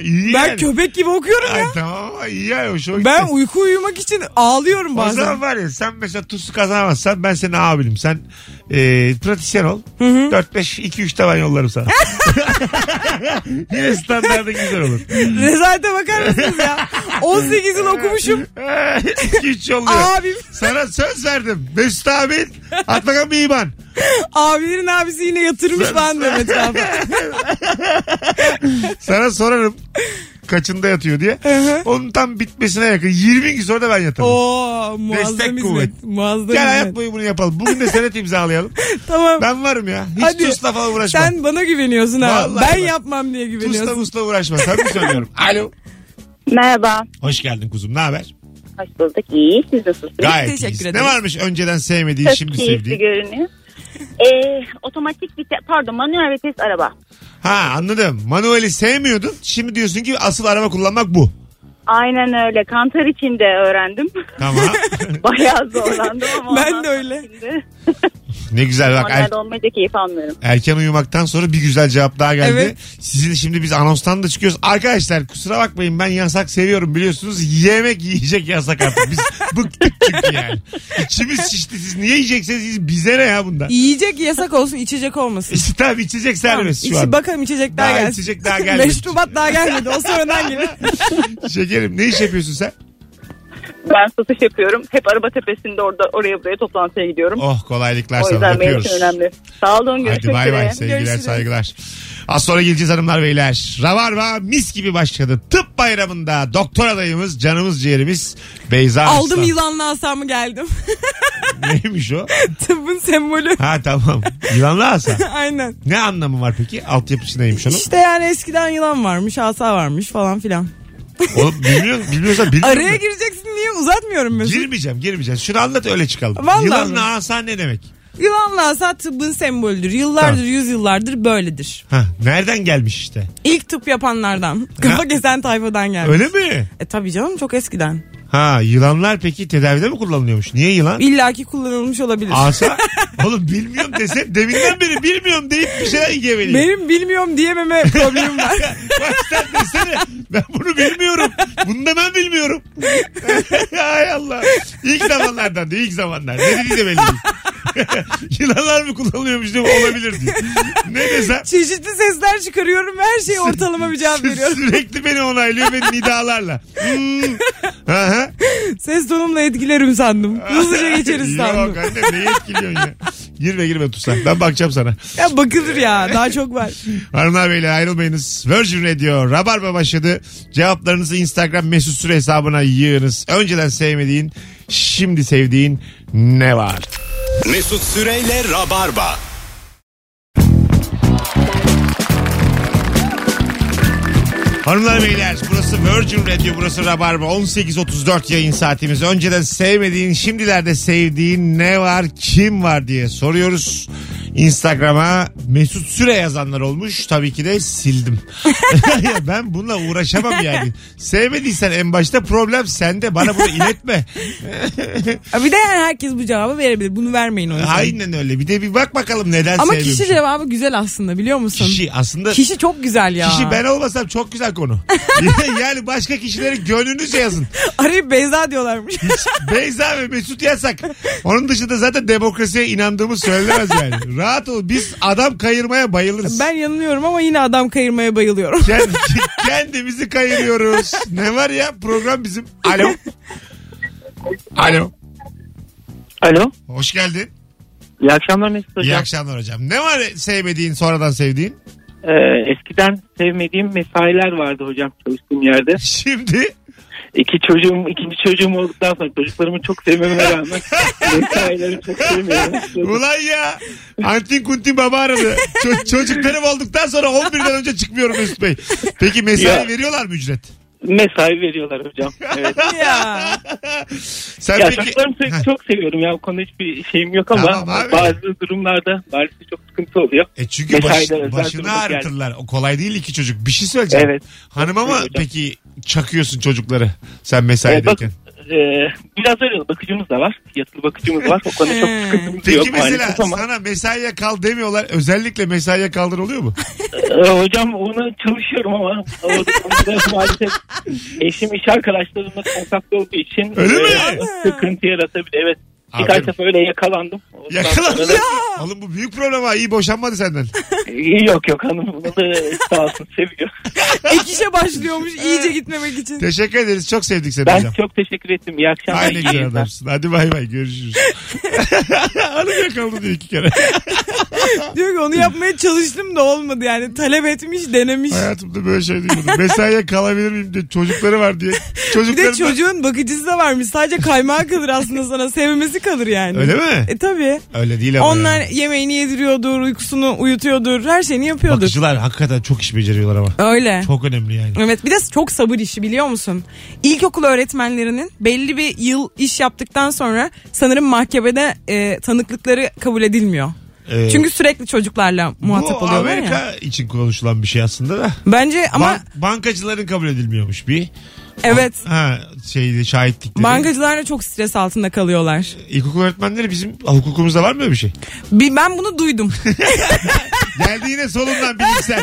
Speaker 2: iyi
Speaker 3: ben
Speaker 2: yani.
Speaker 3: köpek gibi okuyorum
Speaker 2: Ay
Speaker 3: ya.
Speaker 2: tamam ama iyi yani hoşuma gitti.
Speaker 3: Ben uyku uyumak için ağlıyorum
Speaker 2: O
Speaker 3: bazen.
Speaker 2: zaman var ya sen mesela tusu kazanamazsan ben senin abinim. Sen e, pratisyen ol. 4-5-2-3 tavan yollarım
Speaker 3: (laughs)
Speaker 2: sana. Yine standartın güzel olur.
Speaker 3: Rezalete bakar
Speaker 2: (laughs)
Speaker 3: mısınız ya? 18 yıl okumuşum.
Speaker 2: 2-3 yolluyor.
Speaker 3: Abim,
Speaker 2: Sana söz verdim. Mesut abin at bakalım bir iman.
Speaker 3: abilerin abisi yine yatırmış
Speaker 2: (laughs)
Speaker 3: ben de etrafa.
Speaker 2: Sana sorarım kaçında yatıyor diye. Onun tam bitmesine yakın. 20 gün sonra da ben yatarım.
Speaker 3: Oo muazzam
Speaker 2: Destek
Speaker 3: hizmet.
Speaker 2: kuvvet.
Speaker 3: Muazzam
Speaker 2: Gel hayat
Speaker 3: hizmet.
Speaker 2: boyu bunu yapalım. Bugün de senet imzalayalım.
Speaker 3: Tamam.
Speaker 2: (laughs) Ben varım ya. Hiç
Speaker 3: Hadi.
Speaker 2: tusla falan uğraşma.
Speaker 3: Sen bana güveniyorsun ha.
Speaker 2: Vallahi
Speaker 3: ben
Speaker 2: bak.
Speaker 3: yapmam diye güveniyorsun.
Speaker 2: Tusla musla uğraşma. Tabii
Speaker 3: (laughs)
Speaker 2: söylüyorum. Alo.
Speaker 8: Merhaba.
Speaker 2: Hoş geldin kuzum. Ne haber?
Speaker 8: Hoş bulduk. İyi. Siz nasılsınız?
Speaker 2: Gayet
Speaker 3: teşekkür
Speaker 2: iyiyiz. Ne
Speaker 3: ederiz.
Speaker 2: varmış önceden sevmediği
Speaker 8: Çok
Speaker 2: şimdi
Speaker 8: keyifli
Speaker 2: sevdiği?
Speaker 8: görünüyor. Ee, otomatik vites, pardon manuel vites araba.
Speaker 2: Ha anladım. Manuel'i sevmiyordun. Şimdi diyorsun ki asıl araba kullanmak bu.
Speaker 8: Aynen öyle. Kantar içinde öğrendim. (laughs)
Speaker 3: (laughs)
Speaker 2: Tamam.
Speaker 8: Bayağı zorlandım ama.
Speaker 3: Ben
Speaker 8: ondan
Speaker 3: de öyle.
Speaker 8: sonra Şimdi
Speaker 2: ne güzel bak.
Speaker 8: manuel
Speaker 2: Er-
Speaker 8: olmayı da keyif almıyorum.
Speaker 2: erken uyumaktan sonra bir güzel cevap daha geldi.
Speaker 3: Evet.
Speaker 2: Sizin şimdi biz anonstan da çıkıyoruz. Arkadaşlar kusura bakmayın ben yasak seviyorum biliyorsunuz. Yemek yiyecek yasak artık. Biz bıktık çünkü yani. İçimiz şişti. Siz niye yiyeceksiniz? Bize ne ya bundan?
Speaker 3: Yiyecek yasak olsun içecek olmasın.
Speaker 2: İşte tabii içecek serbest şu
Speaker 3: İçi-
Speaker 2: an.
Speaker 3: Bakalım içecek daha,
Speaker 2: Daha
Speaker 3: gelsin.
Speaker 2: içecek daha gelmedi.
Speaker 3: (laughs) Meşrubat daha gelmedi. O
Speaker 2: (laughs)
Speaker 3: sonradan gelir.
Speaker 2: Şekerim ne iş yapıyorsun
Speaker 3: (laughs)
Speaker 2: sen?
Speaker 9: Ben satış yapıyorum. Hep araba tepesinde orada oraya buraya toplantıya gidiyorum.
Speaker 2: Oh kolaylıklar
Speaker 9: o
Speaker 2: sana
Speaker 9: yüzden benim için
Speaker 2: öpüyoruz.
Speaker 9: önemli. Sağ olun
Speaker 2: Hadi
Speaker 9: görüşmek
Speaker 2: bay bay
Speaker 9: üzere.
Speaker 2: sevgiler
Speaker 3: Görüşürüz.
Speaker 2: saygılar. Az sonra geleceğiz hanımlar beyler. Ravarva mis gibi başladı. Tıp bayramında doktor adayımız canımız ciğerimiz Beyza
Speaker 3: Aldım
Speaker 2: Arslan.
Speaker 3: yılanlı asamı geldim.
Speaker 2: (laughs)
Speaker 3: (laughs)
Speaker 2: Neymiş o?
Speaker 3: Tıbbın sembolü. (laughs)
Speaker 2: Ha tamam. Yılanlı asa.
Speaker 3: Aynen.
Speaker 2: Ne anlamı var peki? Altyapısı neymiş onun?
Speaker 3: İşte yani eskiden yılan varmış, asa varmış falan filan.
Speaker 2: Oğlum bilmiyor, bilmiyorsa bilmiyorum.
Speaker 3: Araya gireceksin niye uzatmıyorum Mesut.
Speaker 2: Girmeyeceğim girmeyeceğim. Şunu anlat öyle çıkalım.
Speaker 3: Vallahi mi?
Speaker 2: Yılanlı asa ne demek?
Speaker 3: Yılanlı asa tıbbın sembolüdür. Yıllardır,
Speaker 2: Tamam.
Speaker 3: yüzyıllardır böyledir.
Speaker 2: Ha, nereden gelmiş işte?
Speaker 3: İlk tıp yapanlardan, kafa kesen tayfadan geldi.
Speaker 2: Öyle mi?
Speaker 3: E tabii canım çok eskiden.
Speaker 2: Ha yılanlar peki tedavide mi kullanılıyormuş? Niye yılan?
Speaker 3: İllaki kullanılmış olabilir.
Speaker 2: Asa. (laughs) Oğlum bilmiyorum dese deminden beri bilmiyorum deyip bir şeyler geveliyor. (laughs)
Speaker 3: Benim bilmiyorum diyememe problemim var.
Speaker 2: Baştan desene. Ben bunu bilmiyorum. Bunu da ben bilmiyorum. (laughs) Hay Allah. İlk zamanlardan diyor. ilk zamanlar. Ne dediği de belli değil. (laughs) Yılanlar mı kullanılıyormuş diyor. Olabilir diyor. Ne desem.
Speaker 3: Çeşitli sesler çıkarıyorum ve her şey ortalama
Speaker 2: (laughs)
Speaker 3: bir cevap veriyorum.
Speaker 2: Sürekli beni onaylıyor ve nidalarla. Hmm. Aha.
Speaker 3: Ses tonumla etkilerim sandım.
Speaker 2: (laughs)
Speaker 3: Hızlıca geçeriz sandım.
Speaker 2: Yok anne neyi etkiliyorsun ya? Girme girme tutsan. Ben bakacağım sana.
Speaker 3: Ya bakılır ya daha çok var.
Speaker 2: Hanımlar beyler ayrılmayınız. Virgin Radio Rabarba başladı. Cevaplarınızı Instagram mesut süre hesabına yığınız. Önceden sevmediğin, şimdi sevdiğin ne var?
Speaker 1: Mesut Süreyle Rabarba.
Speaker 2: Hanımlar beyler burası Virgin Radio burası Rabarba 18.34 yayın saatimiz. Önceden sevmediğin şimdilerde sevdiğin ne var kim var diye soruyoruz. Instagram'a Mesut Süre yazanlar olmuş. Tabii ki de sildim. (laughs) Ya ben bununla uğraşamam yani. Sevmediysen en başta problem sende. Bana bunu iletme.
Speaker 3: Bir de yani herkes bu cevabı verebilir. Bunu vermeyin o yüzden.
Speaker 2: Aynen öyle. Bir de bir bak bakalım neden
Speaker 3: Ama
Speaker 2: sevmemiş.
Speaker 3: kişi cevabı güzel aslında biliyor musun?
Speaker 2: Kişi aslında
Speaker 3: Kişi çok güzel ya.
Speaker 2: Kişi ben olmasam çok güzel konu. (laughs) yani başka kişilerin gönlünüzce yazın.
Speaker 3: (laughs) Arayıp Beyza diyorlarmış.
Speaker 2: Beyza ve Mesut yasak. Onun dışında zaten demokrasiye inandığımız söylenemez yani. Rahat ol. Biz adam kayırmaya bayılırız.
Speaker 3: ben yanılıyorum ama yine adam
Speaker 2: (laughs)
Speaker 3: kayırmaya bayılıyorum.
Speaker 2: Kend- kendimizi kayırıyoruz. Ne var ya program bizim. Alo. Alo.
Speaker 6: Alo.
Speaker 2: Hoş geldin.
Speaker 6: İyi akşamlar Mesut
Speaker 2: İyi
Speaker 6: Hocam.
Speaker 2: akşamlar hocam. Ne var sevmediğin sonradan sevdiğin?
Speaker 6: Ee, eskiden sevmediğim mesailer vardı hocam çalıştığım yerde.
Speaker 2: Şimdi
Speaker 6: İki çocuğum, ikinci çocuğum olduktan sonra çocuklarımı çok
Speaker 2: (laughs)
Speaker 6: sevmeme rağmen mesaileri çok sevmiyorum.
Speaker 2: ulan ya Antin Kuntin baba aradı. Ço- çocuklarım olduktan sonra 11'den önce çıkmıyorum Mesut Bey. Peki mesai
Speaker 6: Ya.
Speaker 2: veriyorlar mı ücret?
Speaker 6: Mesai veriyorlar hocam. Evet.
Speaker 3: ya.
Speaker 2: Sen
Speaker 6: Ya
Speaker 2: peki...
Speaker 6: çocuklarımı se-
Speaker 2: Heh.
Speaker 6: çok seviyorum ya. Bu konuda hiçbir şeyim yok ama
Speaker 2: Tamam abi.
Speaker 6: bazı durumlarda maalesef çok sıkıntı oluyor.
Speaker 2: E çünkü baş-
Speaker 6: Mesaiden özel
Speaker 2: başını
Speaker 6: durumda geldi.
Speaker 2: ağrıtırlar. O kolay değil iki çocuk. Bir şey söyleyeceğim.
Speaker 6: Evet.
Speaker 2: Hanıma mı
Speaker 6: Hocam.
Speaker 2: peki çakıyorsun çocukları sen
Speaker 6: Ee, bak,
Speaker 2: mesaideyken?
Speaker 6: e, biraz öyle bakıcımız da var. Yatılı bakıcımız var. O konuda çok sıkıntımız yok
Speaker 2: Peki mesela
Speaker 6: maalesef ama.
Speaker 2: sana mesaiye kal demiyorlar. Özellikle mesaiye kaldır oluyor
Speaker 6: (laughs)
Speaker 2: mu?
Speaker 6: Ee, hocam ona çalışıyorum ama o konuda (laughs) maalesef eşim iş arkadaşlarımla kontakta olduğu için e,
Speaker 2: Öyle mi?
Speaker 6: sıkıntı yaratabilir. Evet.
Speaker 2: Aferin.
Speaker 6: Birkaç defa öyle yakalandım. Ondan
Speaker 2: Yakalandın.
Speaker 6: sonra da-
Speaker 2: Oğlum bu büyük problem ha. İyi boşanmadı senden.
Speaker 6: (laughs) yok yok hanım bunu da sağ olsun seviyor.
Speaker 3: Ek işe başlıyormuş iyice gitmemek için.
Speaker 2: Teşekkür ederiz. Çok sevdik seni
Speaker 6: Ben
Speaker 2: hocam.
Speaker 6: çok teşekkür ettim. İyi akşamlar.
Speaker 2: Aynı
Speaker 6: iyi
Speaker 2: güzel
Speaker 6: yayınlar.
Speaker 2: adamsın. Hadi bay bay
Speaker 3: (laughs)
Speaker 2: görüşürüz. Hanım yakaladı diyor iki kere.
Speaker 3: Diyor ki onu yapmaya çalıştım da olmadı yani. Talep etmiş denemiş.
Speaker 2: Hayatımda böyle şey duymadım. Mesaiye kalabilir miyim diye çocukları var diye.
Speaker 3: Bir de
Speaker 2: Çocukları
Speaker 3: çocuğun bakıcısı da varmış. Sadece kaymağı kalır aslında sana. Sevmesi kalır yani.
Speaker 2: Öyle mi?
Speaker 3: E tabi.
Speaker 2: Öyle değil ama.
Speaker 3: Onlar
Speaker 2: ya.
Speaker 3: yemeğini yediriyordur, uykusunu uyutuyordur, her şeyini yapıyordur.
Speaker 2: Bakıcılar hakikaten çok iş beceriyorlar ama.
Speaker 3: Öyle.
Speaker 2: Çok önemli yani.
Speaker 3: Evet bir de çok sabır işi biliyor musun? İlkokul öğretmenlerinin belli bir yıl iş yaptıktan sonra sanırım mahkemede e, tanıklıkları kabul edilmiyor.
Speaker 2: Ee,
Speaker 3: Çünkü sürekli çocuklarla muhatap
Speaker 2: bu
Speaker 3: oluyorlar ya.
Speaker 2: Amerika için konuşulan bir şey aslında da.
Speaker 3: Bence ama
Speaker 2: Ban- bankacıların kabul edilmiyormuş bir.
Speaker 3: evet
Speaker 2: Ha şeyde şahitlikleri.
Speaker 3: bankacılar da çok stres altında kalıyorlar.
Speaker 2: İlkokul öğretmenleri bizim hukukumuzda var mı öyle bir şey?
Speaker 3: Bir- Ben
Speaker 2: (laughs)
Speaker 3: bunu duydum.
Speaker 2: Geldi yine solundan
Speaker 3: (laughs)
Speaker 2: bilimsel.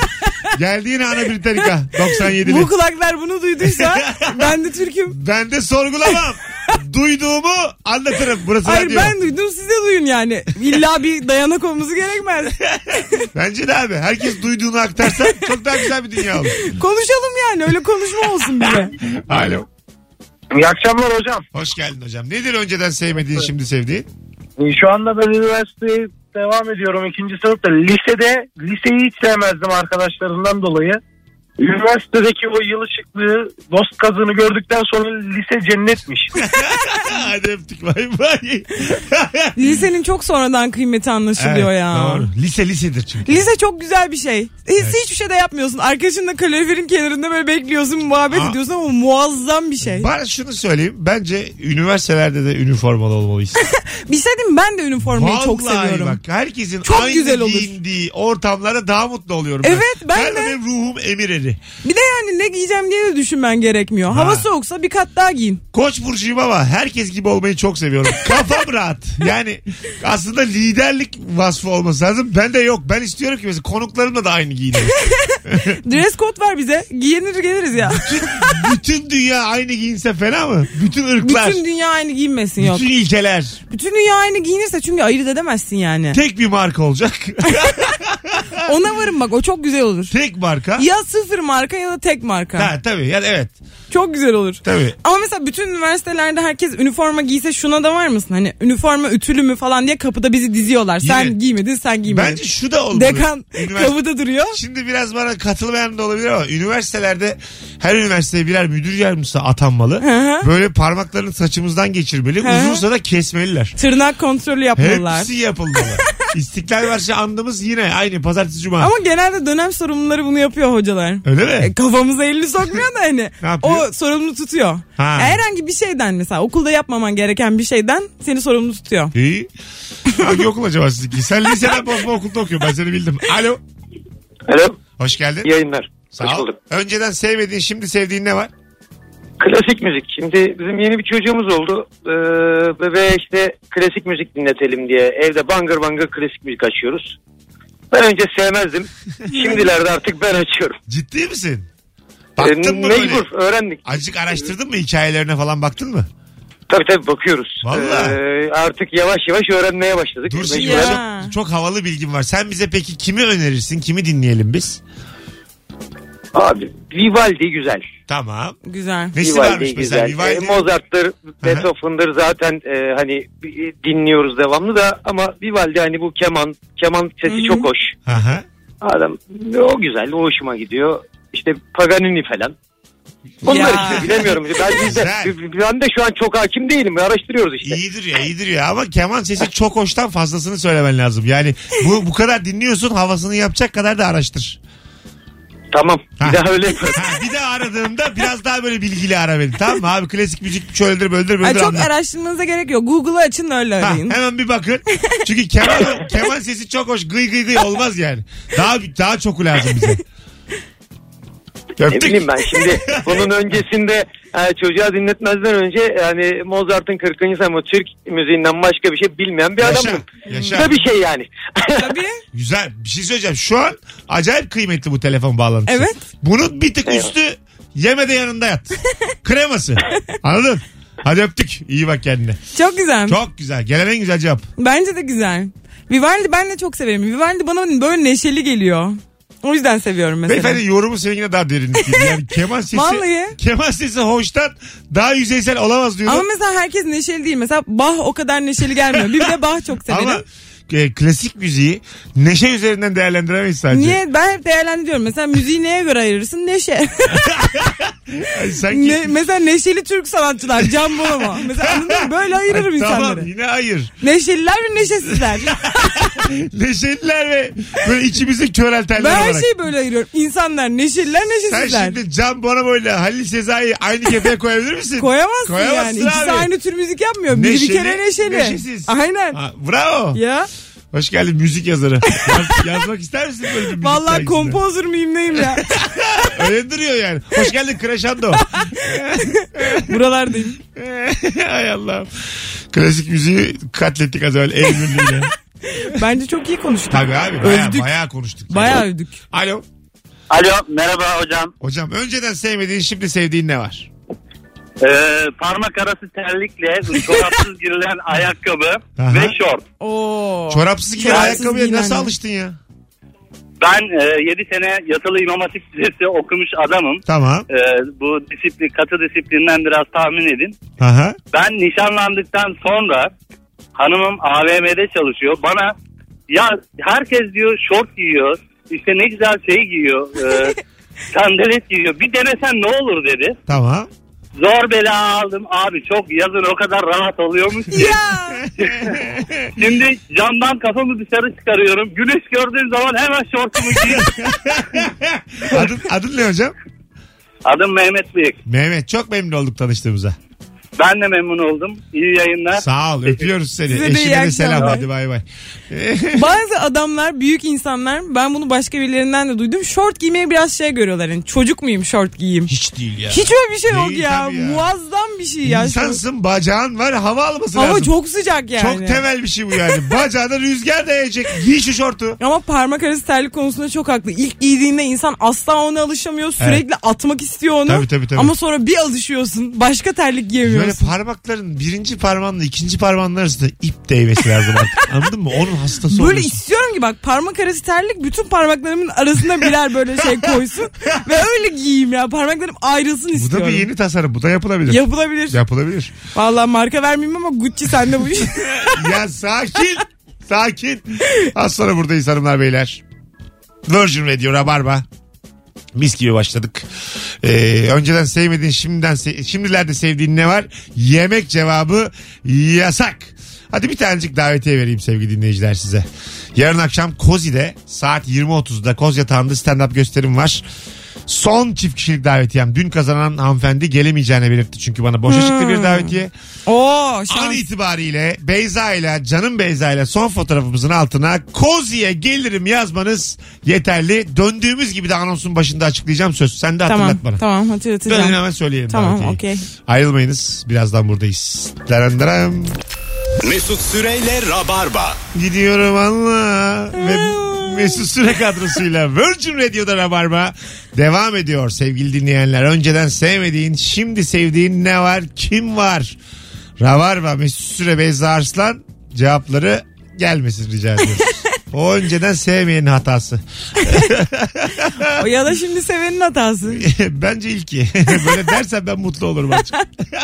Speaker 2: Geldi yine ana Britannica
Speaker 3: Bu
Speaker 2: 97'li.
Speaker 3: kulaklar bunu duyduysa ben de Türk'üm.
Speaker 2: Ben de sorgulamam.
Speaker 3: (laughs)
Speaker 2: Duyduğumu anlatırım. Burası
Speaker 3: Hayır
Speaker 2: radyo.
Speaker 3: ben duydum siz de duyun yani. İlla bir dayanak olması gerekmez.
Speaker 2: Bence de abi. Herkes duyduğunu aktarsa çok daha güzel bir dünya
Speaker 3: (laughs)
Speaker 2: olur.
Speaker 3: Konuşalım yani öyle konuşma olsun bile.
Speaker 2: Alo.
Speaker 5: (laughs) İyi akşamlar hocam.
Speaker 2: Hoş geldin hocam. Nedir önceden sevmediğin şimdi
Speaker 3: (laughs)
Speaker 2: sevdiğin?
Speaker 5: Şu anda ben üniversiteye devam ediyorum ikinci sınıfta. Lisede liseyi hiç sevmezdim arkadaşlarından dolayı. Üniversitedeki o yıl ışıklığı dost kazığını gördükten sonra lise cennetmiş.
Speaker 2: Hadi öptük bay
Speaker 3: (laughs)
Speaker 2: bay.
Speaker 3: Lisenin çok sonradan kıymeti anlaşılıyor
Speaker 2: Evet,
Speaker 3: ya.
Speaker 2: Doğru. Lise lisedir çünkü.
Speaker 3: Lise çok güzel bir şey. Hiç, Hiçbir şey de yapmıyorsun. Arkadaşınla kaloriferin kenarında böyle bekliyorsun, muhabbet
Speaker 2: Aa.
Speaker 3: ediyorsun ama muazzam bir şey.
Speaker 2: Bana şunu söyleyeyim. Bence üniversitelerde de üniformalı olmalıyız.
Speaker 3: Bir şey diyeyim mi? (laughs) ben de üniformayı çok
Speaker 2: Vallahi
Speaker 3: seviyorum.
Speaker 2: bak herkesin
Speaker 3: Çok
Speaker 2: aynı
Speaker 3: güzel olur.
Speaker 2: giyindiği ortamlara daha mutlu oluyorum.
Speaker 3: Evet, ben
Speaker 2: Galiba
Speaker 3: de.
Speaker 2: benim ruhum emir eri.
Speaker 3: Bir de yani ne giyeceğim diye de düşünmen gerekmiyor. Hava
Speaker 2: Ha.
Speaker 3: soğuksa bir kat daha giyin.
Speaker 2: Koç burcuyum ama herkes gibi olmayı çok seviyorum.
Speaker 3: (laughs)
Speaker 2: Kafam rahat. Yani aslında liderlik vasfı olması lazım. Ben de yok. Ben istiyorum ki mesela konuklarımla da aynı
Speaker 3: (laughs)
Speaker 2: giyineyim.
Speaker 3: Dress code ver bize. Giyinir geliriz ya.
Speaker 2: Bütün, bütün dünya aynı giyinse fena mı? Bütün ırklar.
Speaker 3: Bütün
Speaker 2: Bütün,
Speaker 3: dünya aynı giyinmesin yok.
Speaker 2: ilkeler.
Speaker 3: Bütün dünya aynı giyinirse çünkü ayırt edemezsin yani.
Speaker 2: Tek bir marka olacak. (laughs)
Speaker 3: Ona varım bak o çok güzel olur.
Speaker 2: Tek marka.
Speaker 3: Ya sıfır marka ya da tek marka.
Speaker 2: Ha, tabii yani evet.
Speaker 3: Çok güzel olur.
Speaker 2: Tabii.
Speaker 3: Ama mesela bütün üniversitelerde herkes üniforma giyse şuna da var mısın? Hani üniforma ütülü mü falan diye kapıda bizi diziyorlar.
Speaker 2: Yine-
Speaker 3: Sen giymedin sen giymedin.
Speaker 2: Bence şu da olmalı.
Speaker 3: Dekan
Speaker 2: Üniversite-
Speaker 3: kapıda duruyor.
Speaker 2: Şimdi biraz bana katılmayan da olabilir ama üniversitelerde her üniversiteye birer müdür yardımcısı atanmalı.
Speaker 3: hı.
Speaker 2: Böyle parmaklarını saçımızdan geçirmeli.
Speaker 3: hı.
Speaker 2: Uzunsa da kesmeliler.
Speaker 3: Tırnak kontrolü yapmalılar. (laughs)
Speaker 2: Hepsi yapılmalı. İstiklal Marşı andımız yine aynı pazartesi cuma.
Speaker 3: Ama genelde dönem sorumluları bunu yapıyor hocalar.
Speaker 2: Öyle mi?
Speaker 3: E, kafamıza elini sokmuyor da hani.
Speaker 2: (laughs) Ne yapıyor?
Speaker 3: o sorumlu tutuyor.
Speaker 2: Ha.
Speaker 3: Herhangi bir şeyden mesela okulda yapmaman gereken bir şeyden seni sorumlu tutuyor.
Speaker 2: İyi. Hangi okul acaba sizinki? Sen liseden bozma okulda okuyorsun ben seni bildim. Alo.
Speaker 5: Alo.
Speaker 2: Hoş geldin.
Speaker 5: Yayınlar.
Speaker 2: Sağ
Speaker 5: Hoş
Speaker 2: ol.
Speaker 5: bulduk.
Speaker 2: Önceden sevmediğin şimdi sevdiğin ne var?
Speaker 5: Klasik müzik. Şimdi bizim yeni bir çocuğumuz oldu. Ee, ve işte klasik müzik dinletelim diye evde bangır bangır klasik müzik açıyoruz. Ben önce
Speaker 2: (laughs)
Speaker 5: sevmezdim. Şimdilerde artık ben açıyorum.
Speaker 2: Ciddi misin?
Speaker 5: Ee,
Speaker 2: Baktın mı böyle?
Speaker 5: mecbur öğrendik.
Speaker 2: Azıcık araştırdın mı hikayelerine falan baktın mı?
Speaker 5: Tabii tabii bakıyoruz.
Speaker 2: Vallahi.
Speaker 5: Ee, artık yavaş yavaş öğrenmeye başladık.
Speaker 2: Dur şimdi
Speaker 3: Ya.
Speaker 2: çok, çok havalı bilgin var. Sen bize peki kimi önerirsin? Kimi dinleyelim biz?
Speaker 5: Abi Vivaldi güzel.
Speaker 2: Tamam.
Speaker 3: Güzel.
Speaker 2: Nesi varmış
Speaker 5: Vivaldi
Speaker 2: mesela?
Speaker 5: güzel.
Speaker 2: Vivaldi.
Speaker 5: Ee, Mozart'tır, Beethoven'dır zaten e, hani e, dinliyoruz devamlı da ama Vivaldi hani bu keman, keman sesi çok hoş.
Speaker 2: Aha.
Speaker 5: Adam o güzel, o hoşuma gidiyor. İşte Paganini falan. Bunlar
Speaker 3: Ya.
Speaker 5: işte bilemiyorum.
Speaker 2: (laughs)
Speaker 5: Ben, biz de,
Speaker 2: Güzel.
Speaker 5: ben de şu an çok hakim değilim. Araştırıyoruz işte.
Speaker 2: İyidir ya iyidir ya ama keman sesi çok hoştan fazlasını söylemen lazım. Yani bu bu kadar dinliyorsun havasını yapacak kadar da araştır.
Speaker 5: Tamam.
Speaker 2: Ha.
Speaker 5: Bir daha öyle yaparız.
Speaker 2: Ha, bir de aradığımda biraz daha böyle bilgili ara beni. Tamam mı abi klasik müzik şöyledir böyledir
Speaker 3: Ay,
Speaker 2: böyledir
Speaker 3: çok
Speaker 2: anlat.
Speaker 3: araştırmanıza gerek yok. Google'ı açın öyle
Speaker 2: Ha, (laughs)
Speaker 3: arayın.
Speaker 2: hemen bir bakın. Çünkü keman, keman sesi çok hoş. Gıy gıy gıy olmaz yani. Daha daha çok lazım bize.
Speaker 5: Ne
Speaker 2: (laughs) Öptük.
Speaker 5: bileyim ben
Speaker 2: (laughs)
Speaker 5: şimdi bunun öncesinde e, çocuğa dinletmezden önce yani Mozart'ın 40. ama Türk müziğinden başka bir şey bilmeyen bir
Speaker 2: Yaşa.
Speaker 5: adamım.
Speaker 2: Yaşa.
Speaker 5: Tabii şey yani.
Speaker 3: Tabii.
Speaker 2: Güzel. Bir şey söyleyeceğim. Şu an acayip kıymetli bu telefon bağlantısı.
Speaker 3: Evet.
Speaker 2: Bunun bir tık üstü yeme de yanında yat. Kreması. Anladın? Hadi öptük. İyi bak kendine.
Speaker 3: Çok güzel.
Speaker 2: Çok güzel. Gelen en güzel cevap.
Speaker 3: Bence de güzel. Vivaldi ben de çok severim. Vivaldi bana böyle neşeli geliyor. O yüzden seviyorum mesela.
Speaker 2: Beyefendi yorumu seninkine daha derinlik. gibi. Yani keman sesi,
Speaker 3: Vallahi.
Speaker 2: keman sesi hoştan daha yüzeysel olamaz diyorum.
Speaker 3: Ama mesela herkes neşeli değil. Mesela Bach o kadar neşeli gelmiyor. Bir de Bach çok
Speaker 2: (laughs)
Speaker 3: severim.
Speaker 2: Ama e, klasik müziği neşe üzerinden değerlendiremeyiz sadece.
Speaker 3: Niye? Ben hep değerlendiriyorum. Mesela müziği neye göre ayırırsın? Neşe.
Speaker 2: Ay, (laughs) sanki...
Speaker 3: ne, mesela neşeli Türk sanatçılar. Can Bonomo.
Speaker 2: (laughs)
Speaker 3: Mesela anladın mı? Böyle ayırırım
Speaker 2: Ay,
Speaker 3: insanları.
Speaker 2: Tamam yine hayır.
Speaker 3: Neşeliler
Speaker 2: (laughs)
Speaker 3: ve neşesizler.
Speaker 2: Neşeliler ve böyle içimizi köreltenler
Speaker 3: ben
Speaker 2: olarak.
Speaker 3: her şeyi böyle ayırıyorum. İnsanlar neşeliler
Speaker 2: Sen
Speaker 3: neşesizler.
Speaker 2: şimdi Can Bonomo ile Halil Sezai'yi aynı kefeye koyabilir misin?
Speaker 3: (laughs) Koyamazsın, yani. İkisi
Speaker 2: abi.
Speaker 3: aynı tür müzik yapmıyor. Biri bir kere neşeli.
Speaker 2: Neşesiz.
Speaker 3: Aynen.
Speaker 2: Ha, bravo.
Speaker 3: Ya
Speaker 2: Hoş geldin müzik yazarı. Yaz- yazmak ister misin böyle bir müzik
Speaker 3: vallahi
Speaker 2: dergisine?
Speaker 3: kompozör muyum
Speaker 2: (laughs)
Speaker 3: neyim ya?
Speaker 2: Öyle duruyor yani. Hoş geldin Crescendo. (laughs)
Speaker 3: Buralardayım.
Speaker 2: Ay Allah'ım. Klasik müziği katlettik az evvel. El birliğiyle.
Speaker 3: Bence çok iyi konuştuk.
Speaker 2: Tabii abi. Baya,
Speaker 3: Öldük.
Speaker 2: baya konuştuk.
Speaker 3: Bayağı övdük.
Speaker 2: Alo.
Speaker 7: Alo merhaba hocam.
Speaker 2: Hocam önceden sevmediğin şimdi sevdiğin ne var?
Speaker 7: Ee, parmak arası terlikle çorapsız girilen ayakkabı
Speaker 2: Aha.
Speaker 7: ve şort.
Speaker 3: Oo.
Speaker 2: Çorapsız giyen
Speaker 3: Oh. Çorapsız
Speaker 2: ayakkabıya
Speaker 3: giyinen
Speaker 2: nasıl
Speaker 3: mi?
Speaker 2: alıştın ya?
Speaker 7: Ben 7 sene yatılı imam hatip lisesi okumuş adamım.
Speaker 2: Tamam.
Speaker 7: Ee, bu disiplin, katı disiplinden biraz tahmin edin.
Speaker 2: Aha.
Speaker 7: Ben nişanlandıktan sonra hanımım AVM'de çalışıyor. Bana ya herkes diyor şort giyiyor. İşte ne güzel şey giyiyor. E, sandalet giyiyor. Bir denesen ne olur dedi.
Speaker 2: Tamam.
Speaker 7: Zor bela aldım abi çok yazın o kadar rahat oluyormuş ki.
Speaker 3: Ya.
Speaker 7: Şimdi camdan kafamı dışarı çıkarıyorum. Güneş gördüğüm zaman hemen şortumu giyiyorum.
Speaker 2: adın, adın ne hocam?
Speaker 7: (laughs) Adım Mehmet Büyük.
Speaker 2: Mehmet çok memnun olduk tanıştığımıza.
Speaker 7: Ben de memnun oldum. İyi yayınlar.
Speaker 2: Sağ ol öpüyoruz seni.
Speaker 3: Size de iyi
Speaker 2: Eşine de selam
Speaker 3: akşamlar.
Speaker 2: hadi bay bay.
Speaker 3: Bazı adamlar büyük insanlar ben bunu başka birilerinden de duydum. Şort giymeye biraz şey görüyorlar. Yani çocuk muyum şort giyeyim?
Speaker 2: Hiç değil ya.
Speaker 3: Hiç öyle bir şey yok
Speaker 2: Değil
Speaker 3: ya.
Speaker 2: tabii ya.
Speaker 3: Muazzam bir şey ya.
Speaker 2: İnsansın bacağın var hava alması
Speaker 3: Ama
Speaker 2: lazım.
Speaker 3: çok sıcak yani.
Speaker 2: Çok temel bir şey bu
Speaker 3: (laughs)
Speaker 2: yani. Bacağına rüzgar değecek. Giy şu şortu.
Speaker 3: Ama parmak arası terlik konusunda çok haklı. İlk giydiğinde insan asla ona alışamıyor. Sürekli atmak istiyor onu.
Speaker 2: Tabii, tabii, tabii.
Speaker 3: Ama sonra bir alışıyorsun. Başka terlik
Speaker 2: Böyle
Speaker 3: giyemiyorsun.
Speaker 2: parmakların birinci parmağınla ikinci parmağın arasında ip değmesi lazım artık. Anladın mı? Onun hastası
Speaker 3: Böyle
Speaker 2: oluyorsun.
Speaker 3: istiyorum ki bak parmak arası terlik bütün parmaklarımın arasına birer böyle şey
Speaker 2: (laughs)
Speaker 3: koysun. ve öyle giyeyim ya. Parmaklarım ayrılsın
Speaker 2: Bu
Speaker 3: istiyorum.
Speaker 2: da bir yeni tasarım. Bu da yapılabilir.
Speaker 3: Yapılabilir.
Speaker 2: Yapılabilir.
Speaker 3: Vallahi marka vermeyeyim ama Gucci
Speaker 2: (laughs)
Speaker 3: sende bu iş.
Speaker 2: ya sakin. Sakin. Az sonra buradayız hanımlar beyler. Virgin Radio Rabarba. Mis gibi başladık. Ee, önceden sevmediğin şimdiden se- şimdilerde sevdiğin ne var? Yemek cevabı yasak. Hadi bir tanecik davetiye vereyim sevgili dinleyiciler size. Yarın akşam Kozi'de saat 20.30'da Koz Yatağı'nda stand-up gösterim var. Son çift kişilik davetiyem. Dün kazanan hanımefendi gelemeyeceğini belirtti çünkü bana. Boşa çıktı bir davetiye.
Speaker 3: Oo
Speaker 2: An
Speaker 3: şans.
Speaker 2: itibariyle Beyza ile canım Beyza ile son fotoğrafımızın altına Kozi'ye gelirim yazmanız yeterli. Döndüğümüz gibi de anonsun başında açıklayacağım söz. Sen de hatırlat
Speaker 3: Tamam
Speaker 2: bana.
Speaker 3: tamam
Speaker 2: Dönün
Speaker 3: hatırlatacağım.
Speaker 2: hemen söyleyelim.
Speaker 3: Tamam,
Speaker 2: davetiyeyi.
Speaker 3: okey.
Speaker 2: Ayrılmayınız. Birazdan buradayız. Deren deren.
Speaker 1: Mesut Süreyle Rabarba.
Speaker 2: Gidiyorum Allah. Ve Mesut Süre kadrosuyla Virgin Radio'da Rabarba devam ediyor sevgili dinleyenler. Önceden sevmediğin, şimdi sevdiğin ne var, kim var? Rabarba, Mesut Süre, Beyza Arslan cevapları gelmesin rica ediyoruz. o önceden sevmeyenin hatası. (laughs)
Speaker 3: O ya da şimdi sevenin hatası.
Speaker 2: Bence ilki. (laughs) Böyle dersen ben mutlu olurum açık. (laughs)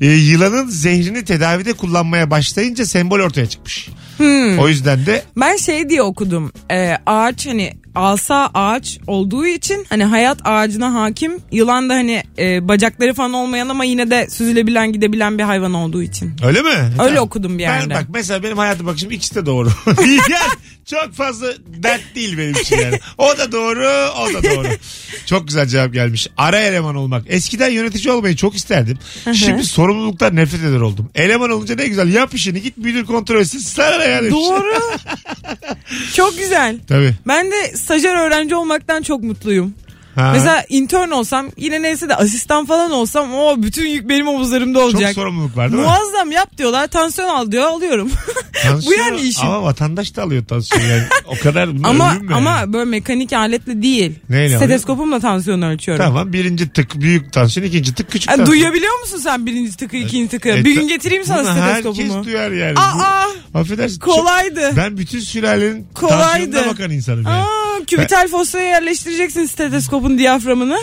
Speaker 2: E, yılanın zehrini tedavide kullanmaya başlayınca sembol ortaya çıkmış. O yüzden de
Speaker 3: Ben şey diye okudum. Ee, ağaç hani asa ağaç olduğu için hani hayat ağacına hakim. Yılan da hani e, bacakları falan olmayan ama yine de süzülebilen gidebilen bir hayvan olduğu için.
Speaker 2: Öyle mi? Öyle
Speaker 3: okudum bir
Speaker 2: ben,
Speaker 3: yerde.
Speaker 2: Bak mesela benim hayata bakışım ikisi de doğru. (laughs) yani çok fazla dert değil benim için yani. O da doğru, o da doğru. çok güzel cevap gelmiş. Ara eleman olmak. Eskiden yönetici olmayı çok isterdim. Şimdi sorumluluktan nefret eder oldum. Eleman olunca ne güzel yap işini git müdür kontrol etsin sana ne yani.
Speaker 3: Doğru.
Speaker 2: (laughs)
Speaker 3: Çok güzel.
Speaker 2: Tabii.
Speaker 3: Ben de stajyer öğrenci olmaktan çok mutluyum.
Speaker 2: Ha.
Speaker 3: Mesela intern olsam yine neyse de asistan falan olsam o bütün yük benim omuzlarımda
Speaker 2: çok
Speaker 3: olacak.
Speaker 2: sorumluluk var değil mi?
Speaker 3: Muazzam yap diyorlar tansiyon al diyor alıyorum. Bu
Speaker 2: Tansiyon-
Speaker 3: yani işin.
Speaker 2: Ama vatandaş da alıyor tansiyon yani. O kadar bunlar
Speaker 3: (laughs) Ama
Speaker 2: ölüm mü yani?
Speaker 3: ama böyle mekanik aletle değil.
Speaker 2: Neyle alıyorsun?
Speaker 3: Steteskopumla tansiyonu ölçüyorum.
Speaker 2: Tamam birinci tık büyük tansiyon ikinci tık küçük
Speaker 3: Ha,
Speaker 2: tansiyon.
Speaker 3: duyabiliyor musun sen birinci tıkı ikinci tıkı?
Speaker 2: E,
Speaker 3: bir
Speaker 2: ta-
Speaker 3: gün getireyim sana
Speaker 2: bunu
Speaker 3: stetoskopumu.
Speaker 2: Herkes duyar yani.
Speaker 3: Aa,
Speaker 2: Bu- affedersin. çok-
Speaker 3: kolaydı.
Speaker 2: ben bütün sülalenin
Speaker 3: Kolaydı.
Speaker 2: tansiyonuna bakan insanım yani.
Speaker 3: Aa, kübital fosfaya yerleştireceksin steteskopun diyaframını.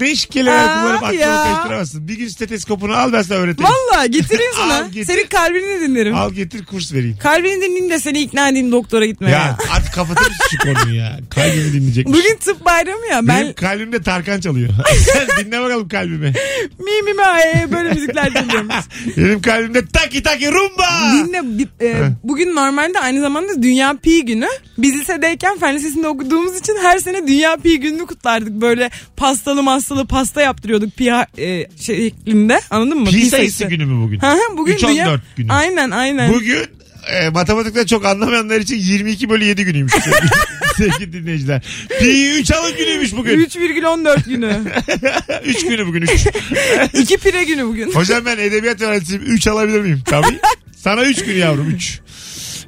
Speaker 2: Değişik kelimeler
Speaker 3: Aa,
Speaker 2: kullanıp aklını
Speaker 3: ya.
Speaker 2: karıştıramazsın. Bir gün stetoskopunu al ben sana öğreteyim. (laughs)
Speaker 3: Valla getireyim sana.
Speaker 2: Al, getir.
Speaker 3: Senin kalbini dinlerim.
Speaker 2: Al getir kurs vereyim.
Speaker 3: Kalbini dinleyeyim de seni ikna edeyim doktora gitmeye.
Speaker 2: Ya (laughs) artık kapatır mısın şu konuyu ya? Kalbimi dinleyecekmiş.
Speaker 3: Bugün tıp bayramı ya.
Speaker 2: Benim
Speaker 3: Ben
Speaker 2: kalbimde Tarkan çalıyor. (laughs) Sen dinle bakalım kalbimi.
Speaker 3: (laughs) mi mi mi ay, böyle
Speaker 2: (laughs)
Speaker 3: müzikler dinliyorum.
Speaker 2: Benim kalbimde taki taki rumba.
Speaker 3: Dinle bi- e, bugün normalde aynı zamanda Dünya Pi günü. Biz lisedeyken fen lisesinde okuduğumuz için her sene Dünya Pi gününü kutlardık. Böyle pastalı mastalı pasta yaptırıyorduk pi ha- e, şeklinde. Anladın mı?
Speaker 2: Pi sayısı günü mü bugün?
Speaker 3: Hı hı, bugün
Speaker 2: 3.14
Speaker 3: dünya...
Speaker 2: günü.
Speaker 3: Aynen aynen.
Speaker 2: Bugün e, matematikten çok anlamayanlar için 22 bölü 7 günüymüş. sevgili- Sevgili dinleyiciler. Pi 3 alın günüymüş bugün.
Speaker 3: 3,14
Speaker 2: (laughs)
Speaker 3: günü.
Speaker 2: 3 günü bugün 3.
Speaker 3: 2 pire günü bugün.
Speaker 2: Hocam ben edebiyat öğrencisiyim. 3 alabilir miyim? Tabii. Sana 3 gün yavrum 3.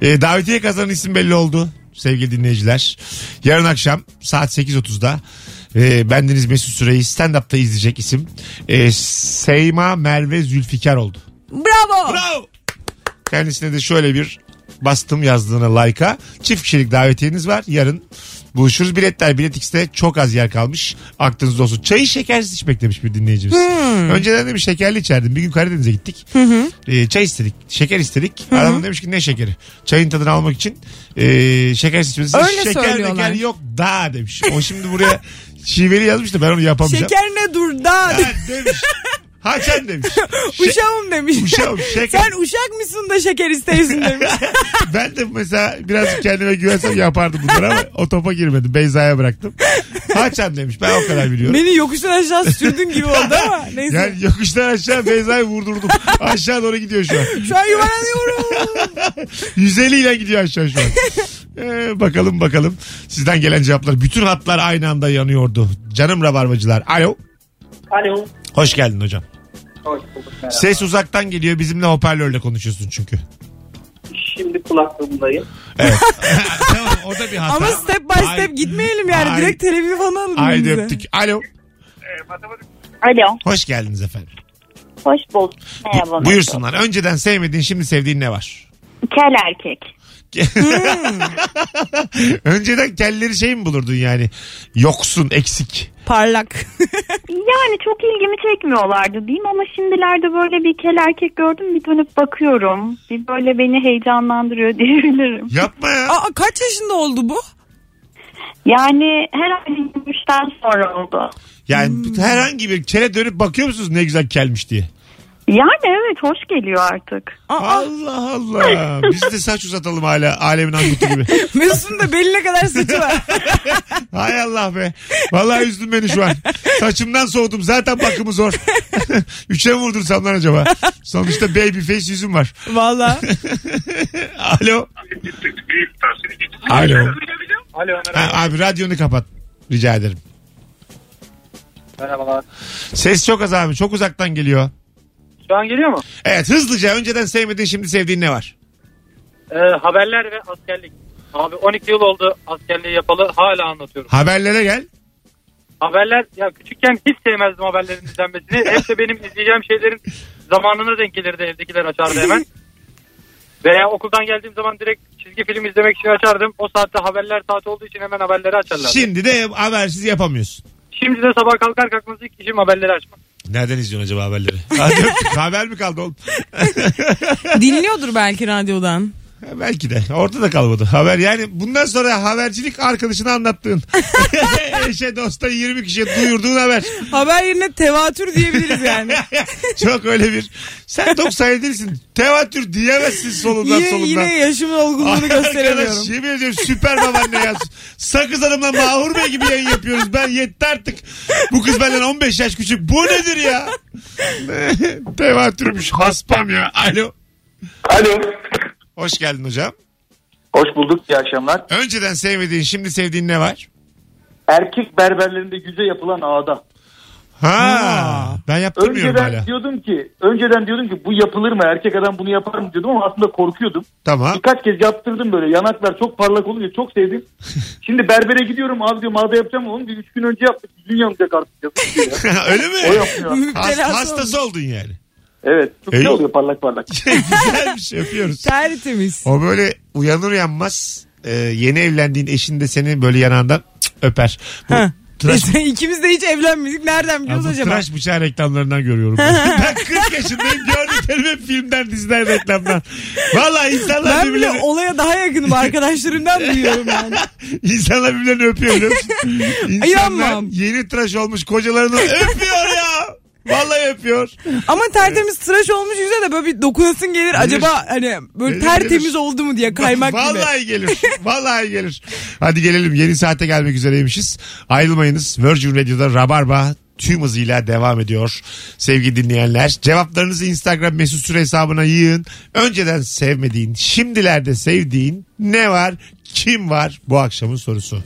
Speaker 2: E, davetiye kazanan isim belli oldu sevgili dinleyiciler. Yarın akşam saat 8.30'da e, bendeniz Mesut Süreyi stand-up'ta izleyecek isim e, Seyma Merve Zülfikar oldu.
Speaker 3: Bravo.
Speaker 2: Bravo. Kendisine de şöyle bir bastım yazdığına like'a. Çift kişilik davetiyeniz var. Yarın buluşuruz. Biletler Bilet X'te çok az yer kalmış. Aklınızda olsun. Çayı şekersiz içmek demiş bir dinleyicimiz.
Speaker 3: Hmm.
Speaker 2: Önceden demiş şekerli içerdim. Bir gün Karadeniz'e gittik. Ee, çay istedik. Şeker istedik. Adam demiş ki ne şekeri? Çayın tadını almak için ee, şekersiz içmesi.
Speaker 3: Öyle
Speaker 2: şeker
Speaker 3: söylüyorlar.
Speaker 2: meker yok da demiş. O şimdi buraya şiveli yazmış da ben onu yapamayacağım.
Speaker 3: Şeker ne durda. (laughs)
Speaker 2: Ha, demiş. Haçan demiş. Şe-
Speaker 3: Uşağım demiş.
Speaker 2: şey- Uşağım, şeker.
Speaker 3: (laughs) Sen uşak mısın da şeker isteyorsun
Speaker 2: (laughs)
Speaker 3: demiş.
Speaker 2: ben de mesela biraz kendime güvensem yapardım bunları ama o topa girmedim. Beyza'ya bıraktım. Haçan demiş. Ben o kadar biliyorum.
Speaker 3: Beni yokuştan aşağı sürdün gibi oldu ama
Speaker 2: (laughs)
Speaker 3: neyse.
Speaker 2: Yani yokuştan aşağı Beyza'yı vurdurdum. aşağı doğru gidiyor şu an.
Speaker 3: Şu an yuvarlanıyorum.
Speaker 2: 150 ile gidiyor aşağı şu an. Ee, bakalım bakalım. Sizden gelen cevaplar. Bütün hatlar aynı anda yanıyordu. Canım rabarbacılar. Alo.
Speaker 6: Alo.
Speaker 2: Hoş geldin hocam. Ses uzaktan geliyor. Bizimle hoparlörle konuşuyorsun
Speaker 3: (laughs)
Speaker 2: çünkü.
Speaker 6: Şimdi kulaklığımdayım.
Speaker 2: tamam o da bir hata.
Speaker 3: Ama step by step
Speaker 2: Ay-
Speaker 3: gitmeyelim yani.
Speaker 2: Ay-
Speaker 3: Direkt televizyon falan alın.
Speaker 2: Haydi
Speaker 3: elinize.
Speaker 2: öptük. Alo.
Speaker 9: Alo.
Speaker 2: Hoş geldiniz efendim.
Speaker 9: Hoş bulduk.
Speaker 2: Bu-
Speaker 9: Merhaba.
Speaker 2: buyursunlar. Önceden sevmediğin şimdi sevdiğin ne var?
Speaker 9: Kel erkek.
Speaker 2: (laughs) Önceden kelleri şey mi bulurdun yani? Yoksun, eksik. (laughs)
Speaker 3: Parlak.
Speaker 9: Yani çok ilgimi çekmiyorlardı diyeyim ama şimdilerde böyle bir kel erkek gördüm bir dönüp bakıyorum. Bir böyle beni heyecanlandırıyor (laughs) diyebilirim.
Speaker 2: Yapma ya.
Speaker 3: Aa kaç yaşında oldu bu?
Speaker 9: Yani herhalde 23'ten sonra oldu.
Speaker 2: Yani herhangi bir kele dönüp bakıyor musunuz ne güzel kelmiş diye?
Speaker 8: Yani evet hoş geliyor artık.
Speaker 3: Aa,
Speaker 2: Allah Allah. Biz de saç uzatalım hala alemin angutu gibi.
Speaker 3: Mesut'un da beline kadar saçı
Speaker 2: (laughs)
Speaker 3: var.
Speaker 2: Hay Allah be. Vallahi üzdün beni şu an. Saçımdan soğudum. Zaten bakımı zor. (laughs) Üçe mi vurdursam lan acaba? Sonuçta baby face yüzüm var.
Speaker 3: Valla.
Speaker 2: Alo. Alo.
Speaker 5: Alo
Speaker 2: Ha, abi radyonu kapat. Rica ederim.
Speaker 5: merhabalar.
Speaker 2: Ses çok az abi. Çok uzaktan geliyor.
Speaker 5: (laughs) Şu an geliyor mu?
Speaker 2: Evet hızlıca önceden sevmediğin şimdi sevdiğin ne var?
Speaker 5: E, haberler ve askerlik. Abi 12 yıl oldu askerliği yapalı hala anlatıyorum.
Speaker 2: Haberlere gel.
Speaker 5: Haberler ya küçükken hiç sevmezdim haberlerin izlenmesini. Hep de benim izleyeceğim şeylerin zamanına denk gelirdi evdekiler açardı hemen. Veya okuldan geldiğim zaman direkt çizgi film izlemek için açardım. O saatte haberler saati olduğu için hemen haberleri açarlardı. Şimdi,
Speaker 2: Şimdi de habersiz yapamıyorsun.
Speaker 5: de sabah kalkar kalkmaz ilk işim haberleri açmak.
Speaker 2: Nereden izliyorsun acaba
Speaker 5: (laughs)
Speaker 2: haberleri? Hadi öptük. Haber mi kaldı oğlum?
Speaker 3: Dinliyordur belki radyodan.
Speaker 2: Ha, Belki de. Orada da kalmadı. Haber yani bundan sonra habercilik arkadaşına
Speaker 5: (laughs)
Speaker 2: anlattığın. (laughs) Eşe dosta 20 kişiye duyurduğun haber.
Speaker 3: Haber yerine tevatür
Speaker 2: (laughs)
Speaker 3: diyebiliriz (laughs) yani.
Speaker 2: Çok öyle bir. Sen 97'lisin. Tevatür diyemezsin solundan
Speaker 3: yine,
Speaker 2: solundan.
Speaker 3: yine yaşımın olgunluğunu gösteremiyorum.
Speaker 2: Arkadaş yemin ediyorum süper babaanne ya. Sakız Hanım'la Mahur Bey gibi yayın yapıyoruz. Ben yetti artık. Bu kız benden 15 yaş küçük. Bu nedir ya? (laughs) Tevatürmüş haspam ya. Alo.
Speaker 6: Alo.
Speaker 2: Hoş geldin hocam.
Speaker 6: Hoş bulduk. İyi akşamlar.
Speaker 2: Önceden sevmediğin şimdi sevdiğin ne var?
Speaker 6: Erkek berberlerinde yüze yapılan ağda.
Speaker 2: Ha, ben yaptırmıyorum
Speaker 6: Önceden
Speaker 2: hala.
Speaker 6: diyordum ki, önceden diyordum ki bu yapılır mı? Erkek adam bunu yapar mı diyordum ama aslında korkuyordum.
Speaker 2: Tamam. (laughs)
Speaker 6: Birkaç kez yaptırdım böyle. Yanaklar çok parlak olunca çok sevdim. Şimdi berbere gidiyorum abi diyorum ağda yapacağım oğlum. Bir üç gün önce yaptık. Yüzün
Speaker 2: (laughs)
Speaker 6: yanacak artık. Yazık diyor ya.
Speaker 2: Öyle
Speaker 6: O
Speaker 2: mi?
Speaker 3: (laughs)
Speaker 6: yapmıyor.
Speaker 2: Hast-
Speaker 3: Müptelası olmuş.
Speaker 2: hastası oldun yani. (laughs)
Speaker 6: Evet. Çok
Speaker 2: Eyvah.
Speaker 6: güzel oluyor parlak parlak.
Speaker 2: Güzelmiş öpüyoruz.
Speaker 3: Tertemiz.
Speaker 2: O böyle uyanır uyanmaz e, yeni evlendiğin eşin de seni böyle yanağından cık, öper. Bu
Speaker 3: Ha.
Speaker 2: tıraş,
Speaker 3: Biz- İkimiz de hiç evlenmedik. Nereden
Speaker 2: Ya
Speaker 3: biliyoruz
Speaker 2: bu
Speaker 3: acaba?
Speaker 2: tıraş bıçağı reklamlarından görüyorum. (laughs) ben Ben 40 yaşındayım gördüklerim hep filmden diziden reklamdan. Valla insanlar
Speaker 3: Ben bile
Speaker 2: birbirlerini,
Speaker 3: olaya daha yakınım arkadaşlarımdan duyuyorum yani.
Speaker 2: insanlar birbirlerini öpüyor biliyor musun?
Speaker 3: (laughs)
Speaker 2: İnsanlar
Speaker 3: İnanmam.
Speaker 2: yeni tıraş olmuş kocalarını öpüyor ya. Vallahi öpüyor.
Speaker 3: Ama tertemiz tıraş olmuş yüze de böyle bir dokunasın gelir. Acaba hani böyle
Speaker 2: Gelir,
Speaker 3: tertemiz
Speaker 2: gelir.
Speaker 3: oldu mu diye kaymak gibi.
Speaker 2: Vallahi gelir. Vallahi gelir. Hadi gelelim. Yeni saate gelmek üzereymişiz. Ayrılmayınız. Virgin Radio'da Rabarba tüm hızıyla devam ediyor. Sevgili dinleyenler. Cevaplarınızı Instagram mesut süre hesabına yığın. Önceden sevmediğin, şimdilerde sevdiğin ne var, kim var bu akşamın sorusu.